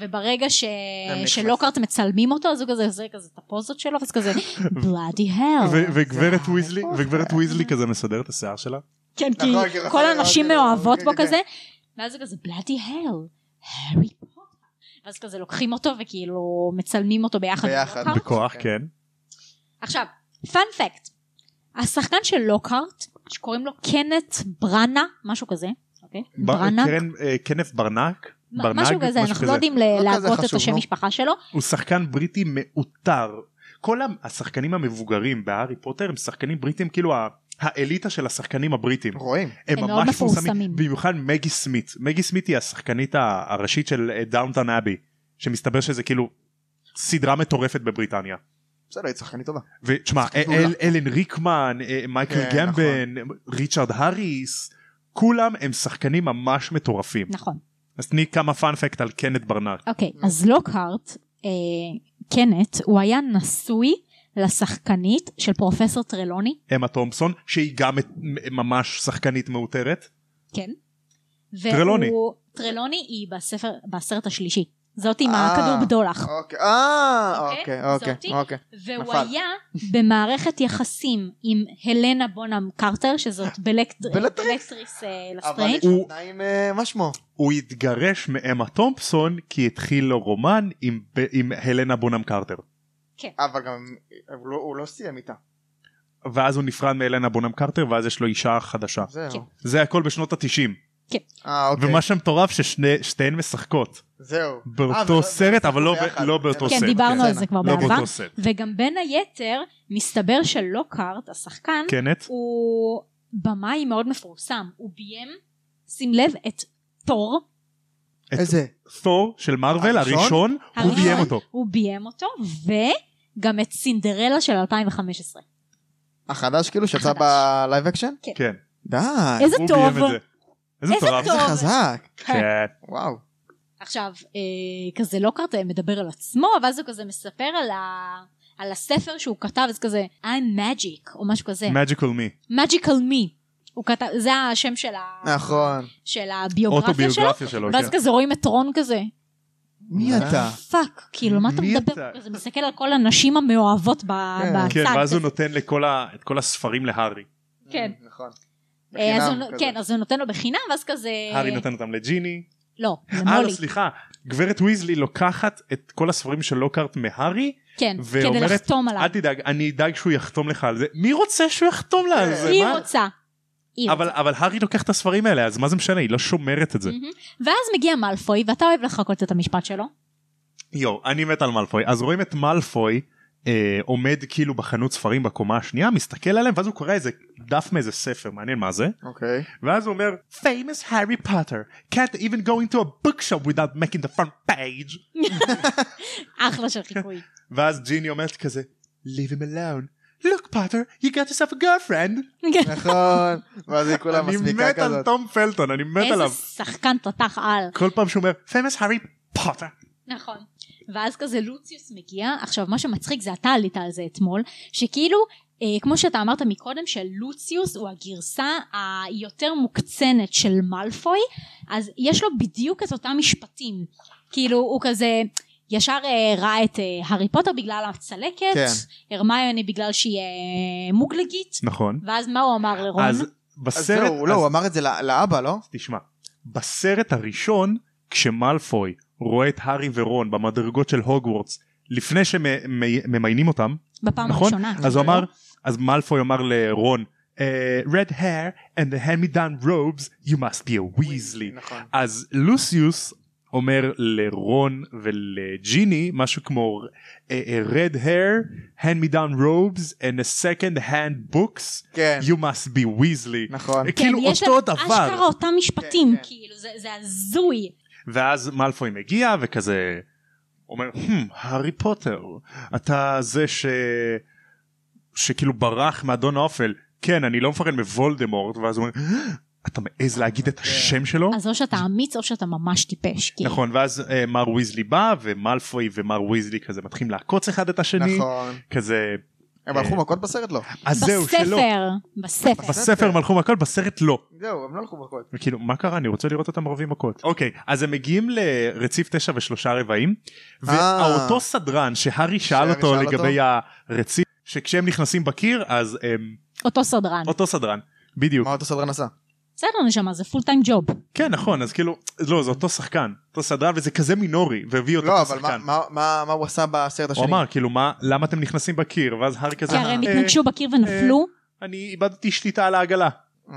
Speaker 3: וברגע ש...
Speaker 2: נכנסים.
Speaker 3: שלוקהרט מצלמים אותו, אז הוא כזה עושה כזה את הפוזות שלו, ואז כזה, בלאדי
Speaker 1: ו-
Speaker 3: הל.
Speaker 1: וגברת ויזלי וגברת ויזלי כזה מסדר את השיער שלה
Speaker 3: כן, כי
Speaker 2: נכון, כי
Speaker 3: כל
Speaker 2: רחל
Speaker 3: הנשים
Speaker 2: רחל,
Speaker 3: מאוהבות
Speaker 2: כן,
Speaker 3: בו
Speaker 2: כן,
Speaker 3: כזה, ואז זה כזה בלאדי הל, הארי פוטר. ואז כזה לוקחים אותו וכאילו מצלמים אותו ביחד. עם
Speaker 2: ביחד.
Speaker 3: לוקהרט.
Speaker 1: בכוח כן
Speaker 3: עכשיו, פאנפקט. השחקן של לוקהרט, שקוראים לו קנט ברנה, משהו כזה, אוקיי?
Speaker 1: ב-
Speaker 3: ברנה?
Speaker 1: קרן, אה, כנף ברנק
Speaker 3: מ- משהו כזה, אנחנו לא יודעים ל-
Speaker 2: לא כזה
Speaker 3: להגות את
Speaker 2: חשוב,
Speaker 3: השם
Speaker 2: נו.
Speaker 3: משפחה שלו.
Speaker 1: הוא שחקן בריטי מעוטר כל ה- השחקנים המבוגרים בהארי פוטר הם שחקנים בריטים כאילו ה- האליטה של השחקנים הבריטים
Speaker 2: רואים.
Speaker 1: הם
Speaker 3: הם מאוד
Speaker 1: ממש מפורסמים
Speaker 3: מפורסמים.
Speaker 1: במיוחד מגי סמית מגי סמית היא השחקנית ה- הראשית של דאונטון אבי שמסתבר שזה כאילו סדרה מטורפת בבריטניה
Speaker 2: בסדר, היא צחקנית טובה.
Speaker 1: ותשמע
Speaker 2: שחקנית
Speaker 1: אל,
Speaker 2: מעולה.
Speaker 1: אלן ריקמן אה, מייקל
Speaker 2: כן,
Speaker 1: גמבן
Speaker 3: נכון.
Speaker 1: ריצ'רד האריס כולם הם שחקנים ממש מטורפים
Speaker 3: נכון.
Speaker 1: אז תני כמה פאנפקט על קנט ברנק
Speaker 3: אוקיי,
Speaker 2: Mm.
Speaker 3: אז לוקהרט, אה, קנט, הוא היה נשוי לשחקנית של פרופסור טרלוני,
Speaker 1: אמה תומפסון שהיא גם מ- מ- ממש שחקנית מעוטרת
Speaker 3: כן.
Speaker 1: טרלוני.
Speaker 3: והוא- טרלוני היא בספר, בסרט השלישי. זאת עם
Speaker 2: אה.
Speaker 3: הכדור בדולח.
Speaker 2: אוקיי, אה,
Speaker 3: אוקיי,
Speaker 2: אוקיי, אוקיי,
Speaker 3: זאתי.
Speaker 2: אוקיי.
Speaker 3: והוא
Speaker 2: נפל.
Speaker 3: היה במערכת יחסים עם הלנה בונם קרטר, שזאת בלקטר-
Speaker 2: בלקטריס.
Speaker 3: בלקטריס אה,
Speaker 2: אבל
Speaker 3: לסטרנג'.
Speaker 2: יש לו
Speaker 1: הוא-
Speaker 2: תנאים, אה, מה שמו?
Speaker 1: הוא התגרש מאמה תומפסון כי התחיל לו רומן עם, ב- עם הלנה בונם קרטר
Speaker 2: אבל גם אבל הוא לא- הוא לא סיים איתה.
Speaker 1: ואז הוא נפרד מהלנה בונם קרטר ואז יש לו אישה חדשה
Speaker 3: כן.
Speaker 2: זהו.
Speaker 1: זה הכל בשנות התשעים
Speaker 2: אה, אוקיי.
Speaker 1: ומה שמטורף ששתיהן משחקות
Speaker 2: זהו. אה,
Speaker 1: באותו
Speaker 2: ולא-
Speaker 1: סרט אבל לא
Speaker 2: ביחד.
Speaker 1: ב- לא באותו
Speaker 3: כן,
Speaker 1: סט
Speaker 3: דיברנו על
Speaker 2: בסצנה.
Speaker 3: זה כבר
Speaker 1: לא
Speaker 3: בעבר.
Speaker 1: באותו סט
Speaker 3: וגם בין היתר, מסתבר שלוקהרט, השחקן,
Speaker 1: קנט
Speaker 3: הוא במאי מאוד מפורסם. הוא ביים, שים לב, את תור,
Speaker 1: את
Speaker 2: איזה?
Speaker 1: תור של מארוול
Speaker 2: הראשון?
Speaker 1: הראשון הוא
Speaker 3: הראשון?
Speaker 1: ביים אותו
Speaker 3: הוא ביים אותו, וגם את סינדרלה של 2015.
Speaker 2: החדש כאילו שיצא
Speaker 3: החדש.
Speaker 2: בלייב אקשן?
Speaker 1: כן
Speaker 2: די.
Speaker 3: איזה
Speaker 1: הוא
Speaker 3: טוב.
Speaker 1: ביים את זה איזה
Speaker 3: איזה
Speaker 1: מטורף
Speaker 3: טוב.
Speaker 2: איזה חזק.
Speaker 1: כן
Speaker 2: וואו.
Speaker 3: עכשיו, אה, כזה לוקהרט אה, מדבר על עצמו, ואז הוא כזה מספר על ה... על הספר שהוא כתב, אז כזה, I'm magic, או משהו כזה,
Speaker 1: magical me
Speaker 3: magical me. הוא כתב, זה השם של, ה...
Speaker 2: נכון.
Speaker 3: של הביוגרפיה שלו,
Speaker 1: אה, אוטוביוגרפיה שלו
Speaker 3: ואז
Speaker 1: כן.
Speaker 3: כזה רואים את רון כזה,
Speaker 2: מי אתה?
Speaker 3: פאק, כאילו מה אתה
Speaker 1: מי
Speaker 3: מדבר?
Speaker 1: אתה?
Speaker 3: הוא כזה מסתכל על כל הנשים המאוהבות ב-
Speaker 2: כן.
Speaker 3: בצד.
Speaker 1: כן ואז הוא
Speaker 3: כזה.
Speaker 1: נותן לכל ה- את כל הספרים להארי
Speaker 3: כן.
Speaker 2: נכון.
Speaker 3: אה, אז הוא
Speaker 2: בחינם
Speaker 3: נו-
Speaker 2: כזה.
Speaker 3: כן, אז הוא נותן לו בחינם, ואז כזה...
Speaker 1: הארי נותן אותם לג'יני
Speaker 3: לא,
Speaker 1: אה לא
Speaker 3: למולי.
Speaker 1: סליחה גברת ויזלי לוקחת את כל הספרים של לוקארט מהארי
Speaker 3: כן, כדי
Speaker 1: ואומרת,
Speaker 3: לחתום עליו.
Speaker 1: אל תדאג אני אדאג שהוא יחתום לך על זה מי רוצה שהוא יחתום לה על זה
Speaker 3: היא
Speaker 1: מה?
Speaker 3: אה, רוצה. היא
Speaker 1: אבל
Speaker 3: רוצה.
Speaker 1: אבל הארי לוקח את הספרים האלה אז מה זה משנה היא לא שומרת את זה.
Speaker 3: מהמם. ואז מגיע מאלפוי, ואתה אוהב לחכות את המשפט שלו.
Speaker 1: יואו אני מת על מאלפוי אז רואים את מאלפוי אה, עומד כאילו בחנות ספרים בקומה השנייה מסתכל עליהם ואז הוא קורא איזה דף מאיזה ספר מעניין מה זה
Speaker 2: אוקיי.
Speaker 1: ואז הוא אומר famous Harry Potter can't even go into a bookshop without making the front page
Speaker 3: אחלה של חיקוי.
Speaker 1: ואז ג'יני אומרת כזה leave him alone look Potter you got yourself a girlfriend
Speaker 3: כן.
Speaker 2: נכון. ואז היא כולה
Speaker 1: אני
Speaker 2: מסמיקה
Speaker 1: מת על
Speaker 2: כזאת.
Speaker 1: תום פלטון אני מת
Speaker 3: איזה
Speaker 1: עליו
Speaker 3: שחקן תותח על.
Speaker 1: כל פעם שהוא אומר famous Harry Potter
Speaker 3: נכון. ואז כזה לוציוס מגיע, עכשיו מה שמצחיק זה אתה עלית על זה אתמול, שכאילו אה, כמו שאתה אמרת מקודם שלוציוס הוא הגרסה היותר מוקצנת של מאלפוי, אז יש לו בדיוק את אותם משפטים, כאילו הוא כזה ישר אה, ראה את אה, הארי פוטר בגלל הצלקת,
Speaker 2: כן.
Speaker 3: הרמיוני בגלל שהיא אה, מוגלגית,
Speaker 1: נכון
Speaker 3: ואז מה הוא אמר לרון?
Speaker 1: אז
Speaker 2: אז
Speaker 1: בסרט
Speaker 2: זהו, לא, הוא אמר את זה לא- לאבא, לא?
Speaker 1: תשמע בסרט הראשון כשמלפוי רואה את הארי ורון במדרגות של הוגוורטס לפני שממיינים אותם
Speaker 3: בפעם
Speaker 1: נכון
Speaker 3: הראשונה.
Speaker 1: אז הוא אמר אז מלפוי אמר לרון "אה, red hair and the hand me down robes you must be a weasley
Speaker 2: נכון.
Speaker 1: אז לוסיוס אומר לרון ולג'יני משהו כמו אה, אה, red hair, hand me down robes and a second hand books,
Speaker 2: כן.
Speaker 1: you must be weasley.
Speaker 2: נכון.
Speaker 1: אה, כאילו
Speaker 3: כן, יש
Speaker 1: אותו
Speaker 3: להם
Speaker 1: דבר.
Speaker 3: אשכרה אותם משפטים,
Speaker 2: כן.
Speaker 3: כאילו, זה- זה הזוי.
Speaker 1: ואז מאלפוי מגיע וכזה אומר "הם, הארי פוטר אתה זה ש... שכאילו ברח מאדון האופל כן אני לא מפחד מוולדמורט ואז הוא אומר "אה, אתה מעז להגיד את השם שלו
Speaker 3: כן. אז או שאתה אמיץ או שאתה ממש טיפש. כאילו.
Speaker 1: נכון ואז אה, מר ויזלי בא ומאלפוי ומר ויזלי כזה מתחילים לעקוץ אחד את השני
Speaker 2: נכון.
Speaker 1: כזה
Speaker 2: הם הלכו
Speaker 1: אה.
Speaker 2: מכות בסרט? לא.
Speaker 1: אז זהו שלא
Speaker 3: בספר, בספר.
Speaker 1: בספר הם הלכו מכות בסרט לא
Speaker 2: זהו, הם לא הלכו מכות.
Speaker 1: וכאילו כאילו, מה קרה אני רוצה לראות אותם ערבים מכות אוקיי אז הם מגיעים לרציף תשע ושלושה רבעים והאותו סדרן שהארי שאל
Speaker 2: אה. שהארי
Speaker 1: אותו
Speaker 2: שאל
Speaker 1: לגבי הרציף שכשהם נכנסים בקיר אז הם
Speaker 3: אותו סדרן.
Speaker 1: אותו סדרן בדיוק
Speaker 2: מה אותו סדרן עשה?
Speaker 3: בסדר נשמה, זה פול טיים ג'וב.
Speaker 1: כן נכון אז כאילו לא זה אותו שחקן אותו סדרן וזה כזה מינורי והביא אותו
Speaker 2: לא, אבל מה-
Speaker 1: כשחקן.
Speaker 2: מה- מה מה הוא עשה בסרט השני?
Speaker 1: הוא אמר כאילו מה למה אתם נכנסים בקיר ואז הארי כזה
Speaker 3: כי הרי הם
Speaker 1: "אה,
Speaker 3: התנגשו בקיר ונפלו.
Speaker 1: אני איבדתי שליטה על העגלה
Speaker 2: אה.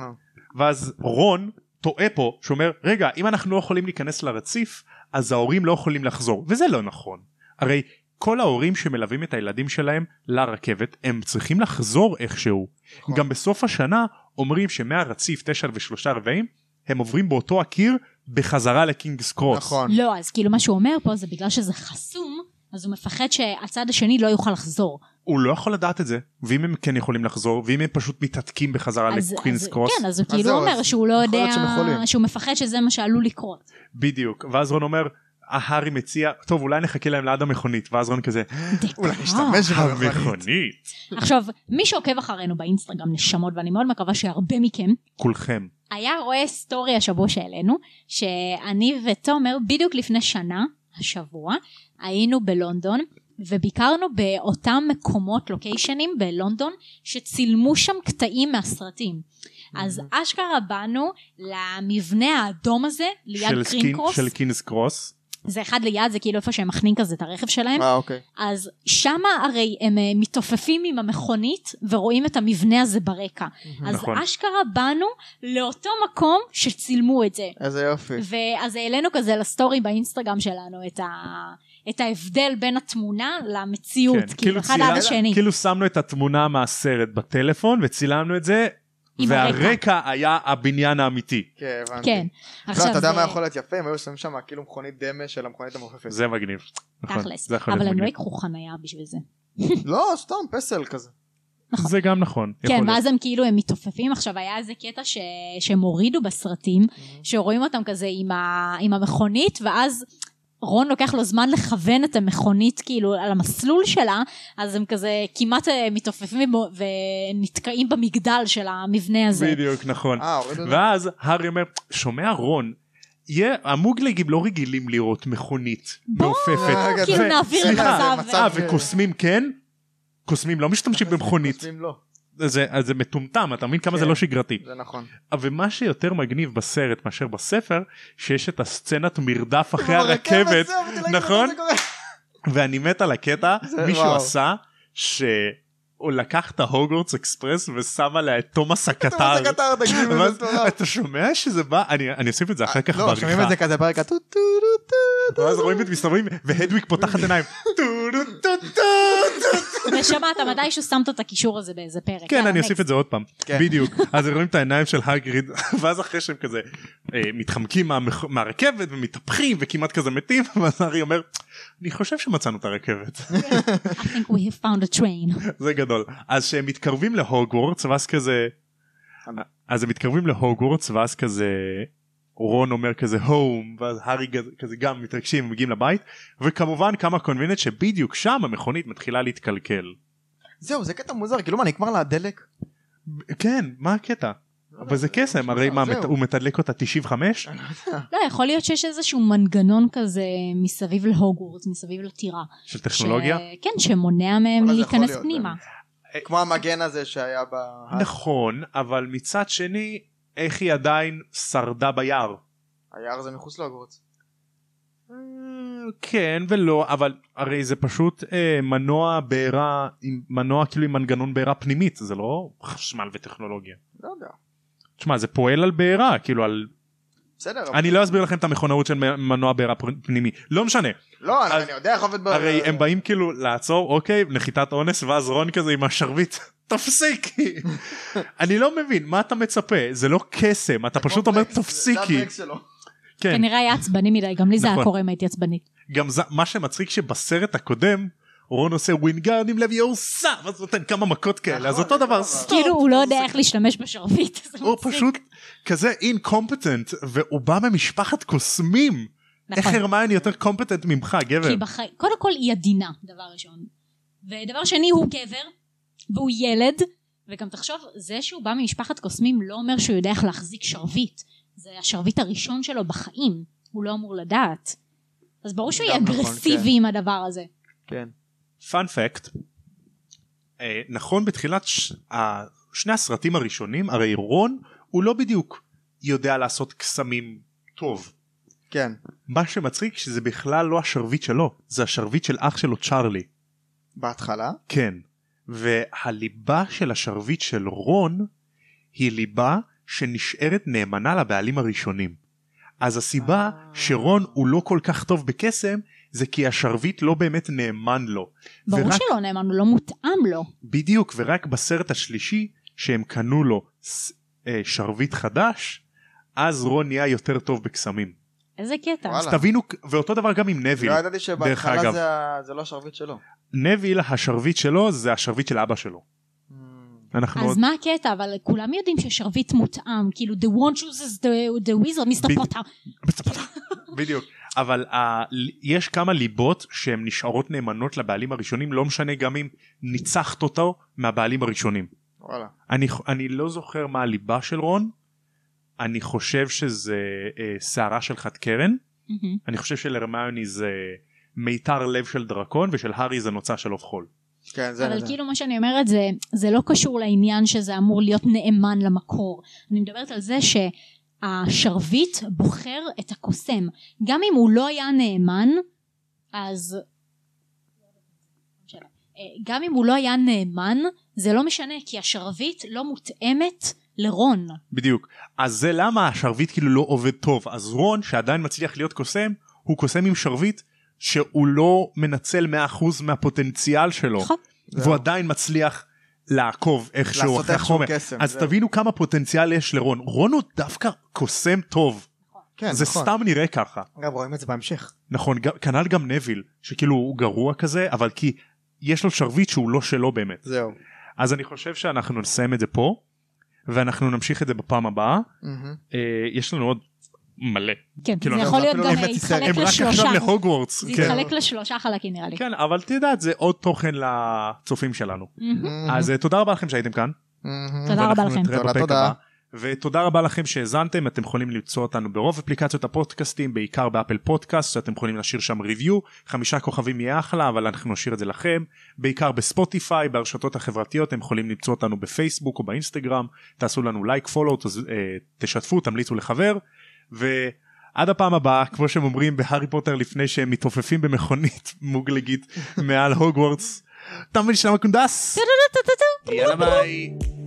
Speaker 1: ואז רון טועה פה שאומר רגע אם אנחנו לא יכולים להיכנס לרציף אז ההורים לא יכולים לחזור וזה לא נכון הרי כל ההורים שמלווים את הילדים שלהם לרכבת הם צריכים לחזור איכשהו
Speaker 2: נכון.
Speaker 1: גם בסוף השנה אומרים שמהרציף תשע ושלושה רבעים הם עוברים באותו הקיר בחזרה לקינגס קרוס
Speaker 2: נכון.
Speaker 3: לא, אז כאילו מה שהוא אומר פה זה בגלל שזה חסום, אז הוא מפחד שהצד השני לא יוכל לחזור.
Speaker 1: הוא לא יכול לדעת את זה ואם הם כן יכולים לחזור ואם הם פשוט מתעתקים בחזרה
Speaker 3: אז-
Speaker 1: לקינגס
Speaker 3: אז-
Speaker 1: קרוס
Speaker 3: כן, אז הוא כאילו
Speaker 2: זהו,
Speaker 3: אומר
Speaker 2: אז
Speaker 3: שהוא לא
Speaker 2: יכול
Speaker 3: יודע,
Speaker 2: להיות שהם יכולים.
Speaker 3: שהוא מפחד שזה מה שעלול לקרות.
Speaker 1: בדיוק ואז רון אומר הארי מציע טוב אולי נחכה להם ליד המכונית ואז רון כזה
Speaker 2: אולי
Speaker 3: דקה.
Speaker 2: נשתמש במכונית.
Speaker 1: המכונית
Speaker 3: עכשיו, מי שעוקב אחרינו באינסטגרם נשמות, ואני מאוד מקווה שהרבה מכם,
Speaker 1: כולכם
Speaker 3: היה רואה סטורי השבוע שהעלינו, שאני ותומר בדיוק לפני שנה, השבוע, היינו בלונדון, וביקרנו באותם מקומות, לוקיישנים בלונדון, שצילמו שם קטעים מהסרטים. אז אשכרה באנו למבנה האדום הזה,
Speaker 1: של
Speaker 3: ליד
Speaker 1: סקין-
Speaker 3: קרינקרוס,
Speaker 1: של קינס קרוס
Speaker 3: זה אחד ליד, זה כאילו איפה שהם מחנים כזה את הרכב שלהם,
Speaker 2: אה, אוקיי.
Speaker 3: אז שמה הרי הם אה, מתעופפים עם המכונית ורואים את המבנה הזה ברקע. אז
Speaker 1: נכון.
Speaker 3: אשכרה באנו לאותו מקום שצילמו את זה.
Speaker 2: איזה יופי.
Speaker 1: אוקיי.
Speaker 3: ואז העלינו כזה לסטורי באינסטגרם שלנו את, ה... את ההבדל בין התמונה למציאות,
Speaker 1: כן,
Speaker 3: כאילו אחד
Speaker 1: צילה-
Speaker 3: על השני.
Speaker 1: כאילו שמנו את התמונה מהסרט בטלפון וצילמנו את זה
Speaker 3: עם
Speaker 1: והרקע היה הבניין האמיתי
Speaker 2: כן, הבנתי.
Speaker 3: כן.
Speaker 2: לא, אתה יודע
Speaker 3: זה-
Speaker 2: מה יכול להיות יפה? הם היו שמים שם כאילו מכונית דמה של המכונית המעופפת.
Speaker 1: זה מגניב נכון,
Speaker 3: תכלס,
Speaker 1: זה יכול להיות
Speaker 3: אבל הם לא
Speaker 1: מגניב.
Speaker 3: ייקחו חנייה בשביל זה.
Speaker 2: לא, סתם פסל כזה.
Speaker 1: זה גם נכון יכול
Speaker 3: לא- כן,
Speaker 1: להיות.
Speaker 3: ואז הם כאילו, הם מתעופפים. עכשיו, היה איזה קטע ש... שהם הורידו בסרטים,
Speaker 1: Mm-hmm.
Speaker 3: שרואים אותם כזה עם, ה... עם המכונית, ואז רון לוקח לו זמן לכוון את המכונית, כאילו, על המסלול שלה, אז הם כזה כמעט אה, מתעופפים בו- ונתקעים במגדל של המבנה הזה.
Speaker 1: בדיוק נכון
Speaker 2: אה, הורידו את זה?
Speaker 1: ואז הארי אומר שומע רון יהיה המוגלגים לא רגילים לראות מכונית
Speaker 3: בוא,
Speaker 1: מעופפת
Speaker 2: כאילו
Speaker 1: ו-
Speaker 3: נעביר
Speaker 1: סליחה,
Speaker 2: למצב-
Speaker 1: אה וקוסמים כן קוסמים לא משתמשים במכונית
Speaker 2: חושבים לא.
Speaker 1: זה אז זה מטומטם אתה מבין כמה זה
Speaker 2: כן.
Speaker 1: לא שגרתי
Speaker 2: זה נכון.
Speaker 1: ומה שיותר מגניב בסרט מאשר בספר שיש את הסצנת מרדף אחרי
Speaker 2: ברכבת,
Speaker 1: הרכבת
Speaker 2: אה, כן, זה, באתי להגיד לך,
Speaker 1: נכון?
Speaker 2: זה "לא קורה.
Speaker 1: ואני מת על הקטע
Speaker 2: זה
Speaker 1: מישהו
Speaker 2: וואו.
Speaker 1: עשה ש... הוא לקח את ההוגוורטס אקספרס ושם עליה את תומאס
Speaker 2: אתה
Speaker 1: הקטר.
Speaker 2: רוצה קטר, תקשיב, זה
Speaker 1: ואז
Speaker 2: מטורף.
Speaker 1: אתה שומע שזה בא אני אני אוסיף את זה אחר כך
Speaker 2: לא, שומעים
Speaker 1: בעריכה.
Speaker 2: את זה כזה ברקע טו טו טו טו טו.
Speaker 1: ואז רואים את מסתובבים והדוויק פותחת עיניים. טו, טו, טו, טו.
Speaker 3: נשמה, אתה מתישהו שמת את הקישור הזה באיזה פרק.
Speaker 1: כן
Speaker 3: יאללה,
Speaker 1: אני אוסיף
Speaker 3: next.
Speaker 1: את זה עוד פעם
Speaker 2: כן.
Speaker 1: בדיוק אז רואים את העיניים של הגריד ואז אחרי שהם כזה אה, מתחמקים מהמח- מהרכבת ומתהפכים וכמעט כזה מתים ואז הארי אומר אני חושב שמצאנו את הרכבת
Speaker 3: I think we have found a train.
Speaker 1: זה גדול אז שהם מתקרבים להוגוורטס ואז כזה אז הם מתקרבים להוגוורטס ואז כזה רון אומר כזה הום ואז הארי גז- כזה גם מתרגשים מגיעים לבית וכמובן כמה קונבינט שבדיוק שם המכונית מתחילה להתקלקל.
Speaker 2: זהו, זה קטע מוזר, כאילו מה, נגמר לה הדלק?
Speaker 1: כן מה הקטע? אבל זה קסם הרי מה
Speaker 2: זהו.
Speaker 1: מת- הוא מתדלק אותה 95?
Speaker 3: לא, יכול להיות שיש איזשהו מנגנון כזה מסביב להוגוורטס, מסביב לטירה.
Speaker 1: של טכנולוגיה?
Speaker 3: ש... כן, שמונע מהם
Speaker 2: אולי זה יכול
Speaker 3: להיכנס
Speaker 2: להיות,
Speaker 1: אה,
Speaker 3: פנימה.
Speaker 2: אה, כמו המגן הזה שהיה ב...
Speaker 1: נכון אבל מצד שני איך היא עדיין שרדה ביער?
Speaker 2: היער זה מחוץ להוגוורטס.
Speaker 1: אה, כן ולא אבל הרי זה פשוט אה, מנוע בעירה עם מנוע כאילו עם מנגנון בעירה פנימית זה לא חשמל וטכנולוגיה.
Speaker 2: לא יודע.
Speaker 1: תשמע זה פועל על בעירה כאילו על
Speaker 2: בסדר, אבל-
Speaker 1: אני לא אסביר לכם את המכונאות של מנוע בעירה פר- פנימי לא משנה
Speaker 2: לא,
Speaker 1: אז-
Speaker 2: אני אני יודע איך עובד ב...
Speaker 1: הרי הם באים כאילו לעצור אוקיי נחיתת אונס ואז רון כזה עם השרביט תפסיקי אני לא מבין מה אתה מצפה זה לא קסם אתה פשוט אומר
Speaker 2: קומפלקס, זה
Speaker 1: תפסיקי
Speaker 2: הברקס שלו.
Speaker 1: כן
Speaker 3: כנראה היה עצבני מדי, גם לי זה היה
Speaker 1: נכון.
Speaker 3: קורה אם הייתי עצבנית.
Speaker 1: גם זה מה שמצחיק שבסרט הקודם רון עושה ווינגרד עם לוי יורסה ואז נותן כמה מכות כאלה אז
Speaker 2: נכון,
Speaker 1: אותו
Speaker 2: אותו
Speaker 1: דבר
Speaker 2: דבר.
Speaker 1: סטופ
Speaker 3: כאילו הוא לא יודע איך להשתמש בשרביט. זה
Speaker 1: הוא
Speaker 3: מצחיק.
Speaker 1: פשוט כזה אינקומפטנט והוא בא ממשפחת קוסמים איך
Speaker 3: נכון.
Speaker 1: הרמיון יותר קומפטנט ממך גבר
Speaker 3: כי בחיים, קודם כל היא עדינה, דבר ראשון. ודבר שני, הוא גבר, והוא ילד, וגם תחשוב, זה שהוא בא ממשפחת קוסמים לא אומר שהוא יודע איך להחזיק שרביט. זה השרביט הראשון שלו בחיים, הוא לא אמור לדעת. אז ברור שהוא יהיה
Speaker 2: גם נכון,
Speaker 3: אגרסיבי עם הדבר הזה.
Speaker 2: כן.
Speaker 1: פאנפקט נכון בתחילת ש- ה- שני הסרטים הראשונים הרי רון הוא לא בדיוק יודע לעשות קסמים טוב
Speaker 2: כן.
Speaker 1: מה שמצחיק שזה בכלל לא השרביט שלו זה השרביט של אח שלו צ'ארלי
Speaker 2: בהתחלה?
Speaker 1: כן, והליבה של השרביט של רון היא ליבה שנשארת נאמנה לבעלים הראשונים. אז הסיבה
Speaker 2: אה.
Speaker 1: שרון הוא לא כל כך טוב בקסם זה כי השרביט לא באמת נאמן לו.
Speaker 3: ברור
Speaker 1: ורק-
Speaker 3: שלא נאמן, הוא לא מותאם לו.
Speaker 1: בדיוק, ורק בסרט השלישי שהם קנו לו ס- אה, שרביט חדש, אז רון נהיה יותר טוב בקסמים.
Speaker 3: איזה קטע.
Speaker 2: וואלה.
Speaker 1: אז תבינו, ואותו דבר גם עם נביל.
Speaker 2: לא ידעתי
Speaker 1: דרך אגב.
Speaker 2: שבהתחלה זה ה- זה לא השרביט שלו.
Speaker 1: נביל, השרביט שלו זה השרביט של אבא שלו. אנחנו עוד...
Speaker 3: אז מה הקטע? אבל כולם יודעים ששרביט מותאם, כאילו the one chooses the, the wizard, מיסטר
Speaker 1: בדיוק.
Speaker 3: פוטר.
Speaker 1: בדיוק אבל ה... יש כמה ליבות שהן נשארות נאמנות לבעלים הראשונים לא משנה גם אם ניצחת אותו מהבעלים הראשונים
Speaker 2: וואלה.
Speaker 1: אני, ח- אני לא זוכר מה הליבה של רון אני חושב שזה אה, שערה של חד קרן
Speaker 3: מהמם.
Speaker 1: אני חושב שלרמיוני זה מיתר לב של דרקון ושל הארי זה נוצה של עוף חול
Speaker 2: כן, זה...
Speaker 3: אבל
Speaker 2: זה.
Speaker 3: כאילו מה שאני אומרת זה, זה לא קשור לעניין שזה אמור להיות נאמן למקור. אני מדברת על זה שהשרביט בוחר את הקוסם. גם אם הוא לא היה נאמן, אז... אה, גם אם הוא לא היה נאמן, זה לא משנה, כי השרביט לא מותאמת לרון.
Speaker 1: בדיוק אז זה למה השרביט כאילו לא עובד טוב אז רון שעדיין מצליח להיות קוסם הוא קוסם עם שרביט שהוא לא מנצל 100% מהפוטנציאל שלו
Speaker 3: נכון.
Speaker 2: זהו.
Speaker 1: והוא עדיין מצליח לעקוב איכשהו
Speaker 2: לעשות
Speaker 1: אחרי
Speaker 2: איכשהו
Speaker 1: החומר
Speaker 2: קסם,
Speaker 1: אז
Speaker 2: זהו.
Speaker 1: תבינו כמה פוטנציאל יש לרון רון הוא דווקא קוסם טוב
Speaker 2: כן,
Speaker 1: זה
Speaker 2: נכון.
Speaker 1: סתם נראה ככה
Speaker 2: גם רואים את זה בהמשך.
Speaker 1: נכון גם- כנ"ל גם נביל שכאילו הוא גרוע כזה אבל כי יש לו שרביט שהוא לא שלו באמת
Speaker 2: זהו.
Speaker 1: אז אני חושב שאנחנו נסיים את זה פה ואנחנו נמשיך את זה בפעם הבאה
Speaker 2: מהמם.
Speaker 1: אה, יש לנו עוד מלא
Speaker 3: כן,
Speaker 1: כאילו,
Speaker 3: זה
Speaker 1: אני-
Speaker 3: יכול
Speaker 2: זה
Speaker 3: להיות
Speaker 2: אפילו
Speaker 3: גם
Speaker 2: לא
Speaker 3: אה,
Speaker 2: מצליחה,
Speaker 3: התחלק
Speaker 1: הם רק עכשיו
Speaker 3: לשלושה.
Speaker 1: להוגוורטס
Speaker 3: זה
Speaker 1: כן.
Speaker 3: התחלק לשלושה חלקים נראה לי.
Speaker 1: כן אבל תדעת זה עוד תוכן לצופים שלנו
Speaker 3: מהמם.
Speaker 1: אז אה, תודה רבה לכם שהייתם כאן
Speaker 2: מהמם.
Speaker 3: תודה רבה
Speaker 1: ואנחנו
Speaker 3: לכם.
Speaker 1: נתראה
Speaker 2: Mm-hmm. תודה,
Speaker 1: בפרק
Speaker 2: תודה.
Speaker 1: הבא. ותודה רבה לכם שהאזנתם אתם יכולים למצוא אותנו ברוב אפליקציות הפודקאסטים בעיקר באפל פודקאסט שאתם יכולים להשאיר שם ריוויו חמישה כוכבים יהיה אחלה אבל אנחנו נשאיר את זה לכם בעיקר בספוטיפיי ברשתות החברתיות אתם יכולים למצוא אותנו בפייסבוק או באינסטגרם תעשו לנו לייק פולו אה, תשתפו תמליצו לחבר ועד הפעם הבאה כמו שהם אומרים בהארי פוטר לפני שהם מתעופפים במכונית מוגלגית מעל הוגוורטס תם ונשלם הקונדס יאללה ביי